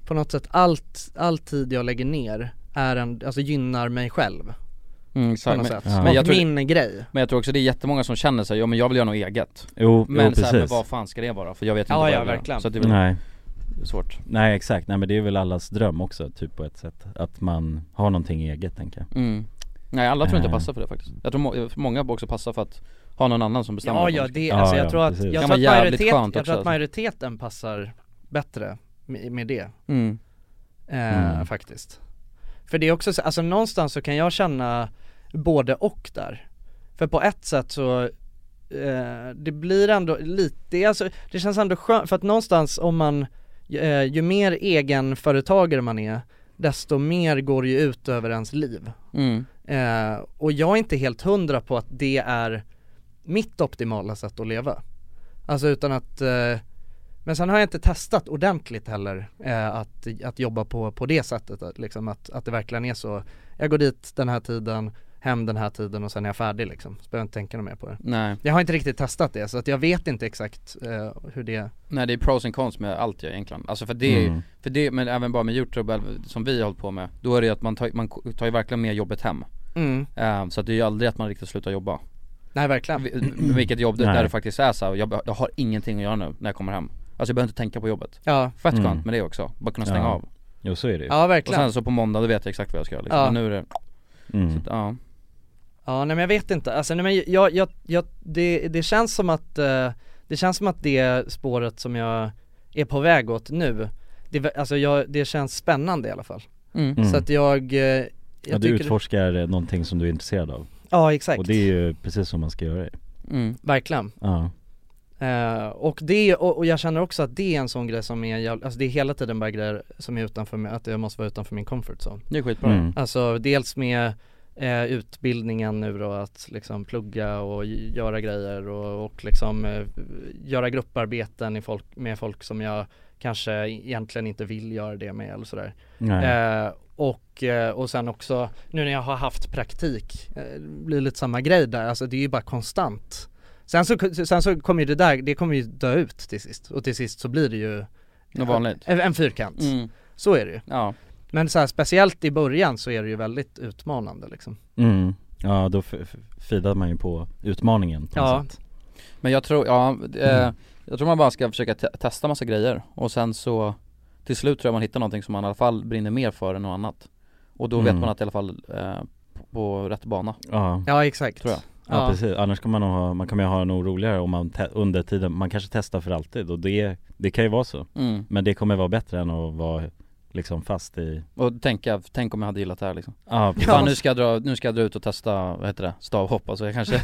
A: på något sätt allt, all tid jag lägger ner är en, alltså gynnar mig själv
B: Mm, exakt.
A: På något
B: Men-
A: sätt,
B: Ja.
A: och
B: men jag tror-
A: min grej
B: Men jag tror också det är jättemånga som känner sig, ja men jag vill göra något eget
D: Jo,
B: Men
D: jo,
B: så här, men
D: precis.
B: vad fan ska det vara? För jag vet inte
A: Ja,
B: vad
A: ja,
B: jag vill göra.
A: verkligen.
B: Så att det är väl
D: Nej. Mm.
B: svårt
D: Nej exakt, nej men det är väl allas dröm också typ på ett sätt Att man har någonting eget tänker jag
B: Mm. Nej alla tror inte
D: Eh.
B: passar för det faktiskt. Jag tror må- många också passar för att ha någon annan som bestämmer
A: Ja
B: vad de
A: ja
B: ska-
A: det, alltså
D: Ja,
A: jag
D: ja,
A: tror att,
D: precis.
A: jag
B: Det kan
A: tror
B: vara
A: att,
B: jävligt
A: majoritet,
B: skönt
A: jag
B: också,
A: tror att
B: alltså.
A: majoriteten passar bättre med, med det
B: mm.
A: eh,
B: Mm.
A: faktiskt För det är också så, alltså någonstans så kan jag känna både och där För på ett sätt så eh, det blir ändå lite, det, är alltså, det känns ändå skönt, för att någonstans om man, eh, ju mer egenföretagare man är, desto mer går det ju ut över ens liv.
B: Mm.
A: Eh, och jag är inte helt hundra på att det är mitt optimala sätt att leva. Alltså utan att, eh, men sen har jag inte testat ordentligt heller eh, att, att jobba på, på det sättet, att, liksom att, att det verkligen är så, jag går dit den här tiden, hem den här tiden och sen är jag färdig liksom, så behöver jag inte tänka något mer på det.
B: Nej.
A: Jag har inte riktigt testat det så att jag vet inte exakt eh, hur det
B: Nej det är pros and cons med allt ju egentligen. Alltså för det,
D: Mm.
B: för det, men även bara med youtube eller som vi har hållit på med, då är det ju att man tar, man tar ju verkligen med jobbet hem.
A: Mm.
B: Eh, så att det är ju aldrig att man riktigt slutar jobba.
A: Nej verkligen.
B: Vi- Vilket jobb det,
D: Mm. Nej.
B: där det faktiskt är så här, jag, be- jag har ingenting att göra nu när jag kommer hem. Alltså jag behöver inte tänka på jobbet.
A: Ja,
B: Fett
D: Mm.
B: skönt med det också, bara kunna stänga
D: Ja.
B: av.
D: Jo så är det ju
A: ja
B: Och
A: verkligen.
B: sen så på måndag då vet jag exakt vad jag ska göra liksom.
A: Ja.
B: Men nu är det,
D: mm.
B: ja.
A: Ja nej men jag vet inte, alltså nej, men jag, jag, jag det, det känns som att eh, Det känns som att det spåret som jag är på väg åt nu Det, alltså jag, det känns spännande i alla fall
B: Mm.
D: Mm.
A: Så att jag, eh, jag
D: ja, du utforskar eh, någonting som du är intresserad av
A: Ja exakt,
D: Och det är ju precis som man ska göra det
B: Mm.
A: verkligen
D: Ja,
A: Eh, och det, och, och jag känner också att det är en sån grej som är, jävla- alltså det är hela tiden bara grejer som är utanför mig, att jag måste vara utanför min comfort zone
B: Det är skitbra
D: mm.
A: Alltså dels med eh, utbildningen nu då att liksom plugga och g- göra grejer och, och liksom eh, göra grupparbeten i folk, med folk som jag kanske e-, egentligen inte vill göra det med eller sådär.
D: Nej.
A: Eh, och, eh, och sen också nu när jag har haft praktik, eh, blir lite samma grej där, alltså det är ju bara konstant. Sen så, sen så kommer ju det där, det kommer ju dö ut till sist och till sist så blir det ju
B: Något vanligt.
A: en, en fyrkant.
B: Mm.
A: Så är det ju.
B: Ja,
A: Men så här, speciellt i början så är det ju väldigt utmanande liksom.
D: Mm. Ja då f- f- fidar man ju på utmaningen på
A: Ja.
D: något sätt
B: men jag tror, ja, eh,
D: Mm.
B: jag tror man bara ska försöka te- testa massa grejer och sen så till slut tror jag man hittar någonting som man i alla fall brinner mer för än något annat Och då
D: Mm.
B: vet man att i alla fall eh, på- på rätt bana
D: Ja,
A: Ja exakt.
B: Tror jag.
D: ja
A: Ja,
D: precis, annars kan man nog ha, man kommer ju ha en oroligare om man te- under tiden, man kanske testar för alltid och det, det kan ju vara så
B: mm.
D: Men det kommer vara bättre än att vara liksom fast i
B: Och tänka, tänk om jag hade gillat det här liksom
D: Ja,
B: Fan nu ska jag dra, nu ska jag dra ut och testa, vad heter det, stavhopp alltså jag
D: [LAUGHS]
B: kanske,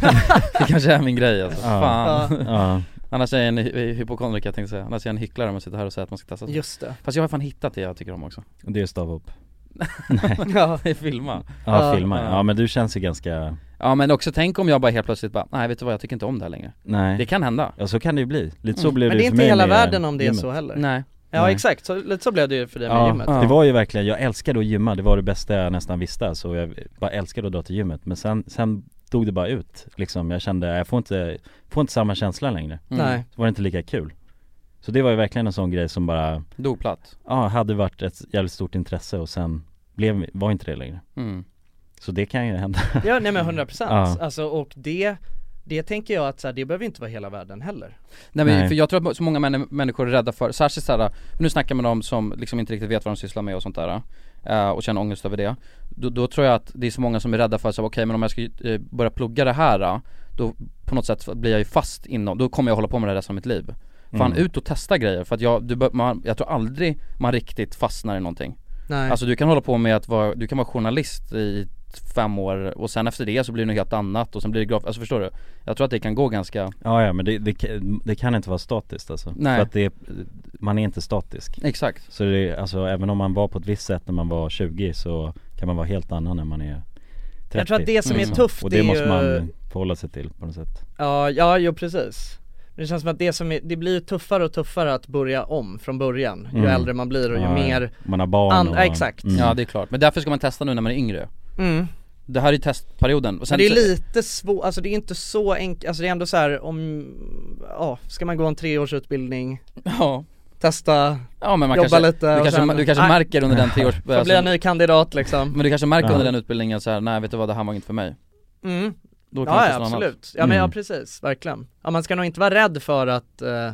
B: det kanske är min grej alltså,
D: Ja.
B: fan
D: ja.
B: Annars är jag en hy- hypokondriker tänkte jag säga, annars är jag en hycklare om jag sitter här och säger att man ska testa sig.
A: just det.
B: Fast jag har fan hittat det jag tycker om också,
D: Och det är stavhopp
B: [LAUGHS]
A: Ja,
B: filma
D: Ja,
A: Ja.
D: filma, ja men du känns ju ganska,
B: Ja men också tänk om jag bara helt plötsligt bara, nej vet du vad jag tycker inte om det här längre
D: nej
B: Det kan hända
D: Ja så kan det ju bli, lite så
B: Mm.
D: blev
A: men
D: det
A: det
D: ju
A: är
D: för
A: inte
D: mig
A: hela
D: med
A: världen om det är
D: gymmet.
A: så heller.
B: Nej
A: Ja
D: Nej.
A: exakt, så, lite så blev det ju för dig med
D: Ja,
A: gymmet. Mm.
B: Ja.
D: det var ju verkligen, jag älskade att gymma, det var det bästa jag nästan visste så jag bara älskade att dra till gymmet men sen, sen dog det bara ut liksom, jag kände, jag får inte, får inte samma känsla längre,
B: Mm.
A: Nej,
D: så var det inte lika kul Så det var ju verkligen en sån grej som bara,
B: Doplatt
D: ja hade varit ett jävligt stort intresse och sen blev, var inte det längre
B: mm.
D: Så det kan ju hända [LAUGHS]
A: ja, nej men 100% procent.
D: Ja.
A: Alltså och det, det tänker jag att så här, det behöver inte vara hela världen heller
B: Nej men
A: Nej.
B: för jag tror att så många män, människor är rädda för, särskilt såhär, nu snackar man om som liksom inte riktigt vet vad de sysslar med och sånt där eh, och känner ångest över det Då, då tror jag att det är så många som är rädda för så här, okej men om jag ska eh, börja plugga det här eh, då på något sätt blir jag ju fast inom, då kommer jag hålla på med det här resten av mitt liv Fan
A: Mm.
B: ut och testa grejer för att jag, du, bör- man, jag tror aldrig man riktigt fastnar i någonting
A: Nej.
B: Alltså du kan hålla på med att vara, du kan vara journalist i fem år och sen efter det så blir det något helt annat och sen blir det graf, alltså förstår du? Jag tror att det kan gå ganska
D: Ja, ja men det, det, kan- det kan inte vara statiskt alltså.
B: Nej.
D: För att det, är- man är inte statisk.
B: Exakt.
D: Så det, är- alltså även om man var på ett visst sätt när man var 20 så kan man vara helt annan när man är 30.
A: Jag tror att det som är
D: liksom.
A: tufft
D: Och
A: är
D: det måste
A: ju-
D: man förhålla sig till på något sätt.
A: Ja, ja jo precis Det känns som att det som är, det blir ju tuffare och tuffare att börja om från början Ju
D: Mm.
A: äldre man blir och ju
D: Ja, ja.
A: mer
D: Man har barn
A: an-
D: och-
A: ja, Exakt
D: Mm.
B: Ja det är klart, men därför ska man testa nu när man är yngre
A: Mm.
B: Det här är ju testperioden och sen
A: Men det är lite svårt, alltså det är inte så enkelt, alltså det är ändå så här om, ja, ska man gå en treårsutbildning?
B: [LAUGHS] Ja
A: Testa,
B: Ja, men man
A: jobba
B: kanske-
A: lite
B: du
A: och
B: kanske- du kanske
A: nej,
B: märker under den
A: [LAUGHS]
B: treårs-
A: Får bli en ny kandidat liksom
B: Alltså- Men du kanske märker
A: Ja.
B: under den utbildningen så här, nej vet du vad det här var inte för mig
A: Mm.
B: Då kan man
A: ja,
B: testa
A: ja
B: något annat.
A: absolut, ja men ja
B: Mm.
A: precis, verkligen. Ja man ska nog inte vara rädd för att, eh,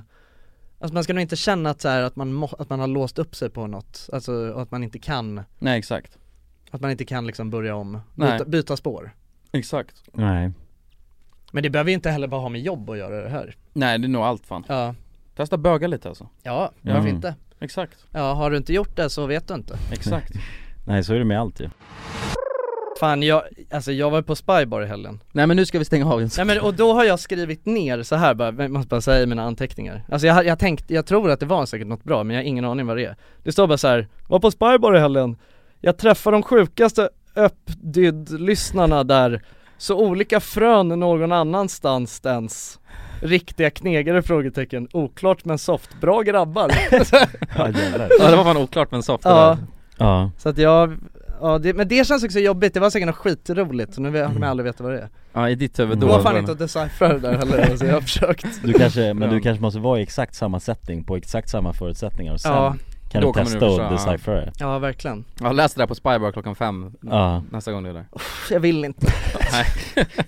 A: alltså man ska nog inte känna att, så här, att, man må, att man har låst upp sig på något, alltså och att man inte kan,
B: Nej exakt
A: att man inte kan liksom börja om,
B: Nej.
A: byta, byta spår.
B: Exakt
D: Nej.
A: Men det behöver ju inte heller bara ha med jobb att göra det här.
B: Nej det är nog allt fan
A: Ja
B: Testa böga lite alltså
A: Ja,
B: Ja.
A: varför inte? [LAUGHS]
B: Exakt
A: Ja, har du inte gjort det så vet du inte.
B: Exakt.
D: Nej så är det med allt ju.
A: Fan jag, alltså jag var på Spybar i helgen
B: Nej men nu ska vi stänga av
A: Nej men och då har jag skrivit ner så här bara, jag måste bara säga i mina anteckningar Alltså jag, jag tänkte, jag tror att det var säkert något bra men jag har ingen aning vad det är Det står bara så här, var på Spybar i helgen Jag träffar de sjukaste uppdydd-lyssnarna där Så olika frön någon annanstans dens Riktiga knegare? Frågetecken Oklart men soft, bra grabbar
B: Ja det var fan oklart men soft det
A: Ja.
B: där.
D: Ja.
A: Så att jag, ja det, men det känns också jobbigt, det var säkert något skitroligt så nu vet- kommer jag aldrig veta vad det är
B: Ja i ditt huvud
D: Mm.
A: Det
B: då
A: går fan inte att deciphera det där heller, alltså jag har försökt
B: [LAUGHS]
D: Du kanske, men du kanske måste vara i exakt samma sättning på exakt samma förutsättningar och sen
A: Ja.
D: kan
B: Då
D: du
B: kommer du
D: testa och
B: förstå, ja.
D: deciphera det.
A: Ja verkligen
B: Ja läs det där på Spybar klockan fem
A: Mm.
D: Ja.
B: nästa gång du är där
A: Jag vill inte
B: Nej. [LAUGHS]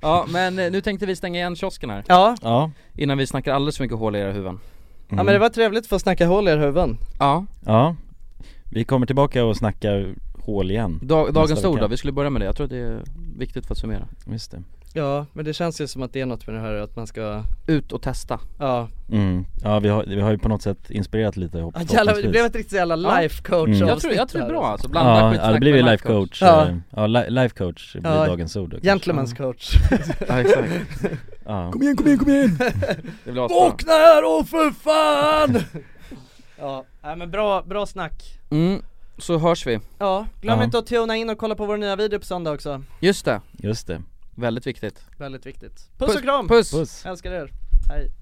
B: Ja men eh, nu tänkte vi stänga igen kiosken här
A: Ja.
D: Ja.
B: Innan vi snackar alldeles för mycket hål i era huvuden
A: Ja
D: Mm.
A: men det var trevligt för att få snacka hål i er huvuden
B: Ja
D: Ja. Vi kommer tillbaka och snackar hål igen.
B: Dag, dagens
D: nästa
B: ord
D: vecka.
B: då, vi skulle börja med det. Jag tror att det är viktigt för att summera
D: Just det.
A: Ja men det känns ju som att det är något med det här att man ska
B: Ut och testa
A: Ja,
D: Mm. Ja vi har, vi har ju på något sätt inspirerat lite hopp,
A: ah, jävlar, det blev ett riktigt jävla
B: Ja.
A: life coach
D: Mm.
B: Jag tror, jag tror det är bra alltså, blanda
D: ja,
B: skitsnack
D: ja det blir ju
B: med
D: life coach,
A: Ja.
D: ja, ja li- life coach blir
A: Ja,
D: dagens ord då, kanske.
A: Gentleman's coach
B: Ja, exakt.
D: ja.
A: Kom igen, kom igen, kom igen! [LAUGHS]
B: Det blir asbra.
A: Vakna här då för fan! [LAUGHS] ja, nej men bra, bra snack
B: Mm, så hörs vi.
A: Ja, glöm
B: Ja.
A: inte att tuna in och kolla på vår nya video på söndag också
B: Just det
D: Just det
B: Väldigt viktigt
A: Väldigt viktigt Puss,
B: Puss,
A: och kram!
B: puss. Puss.
A: Älskar er, hej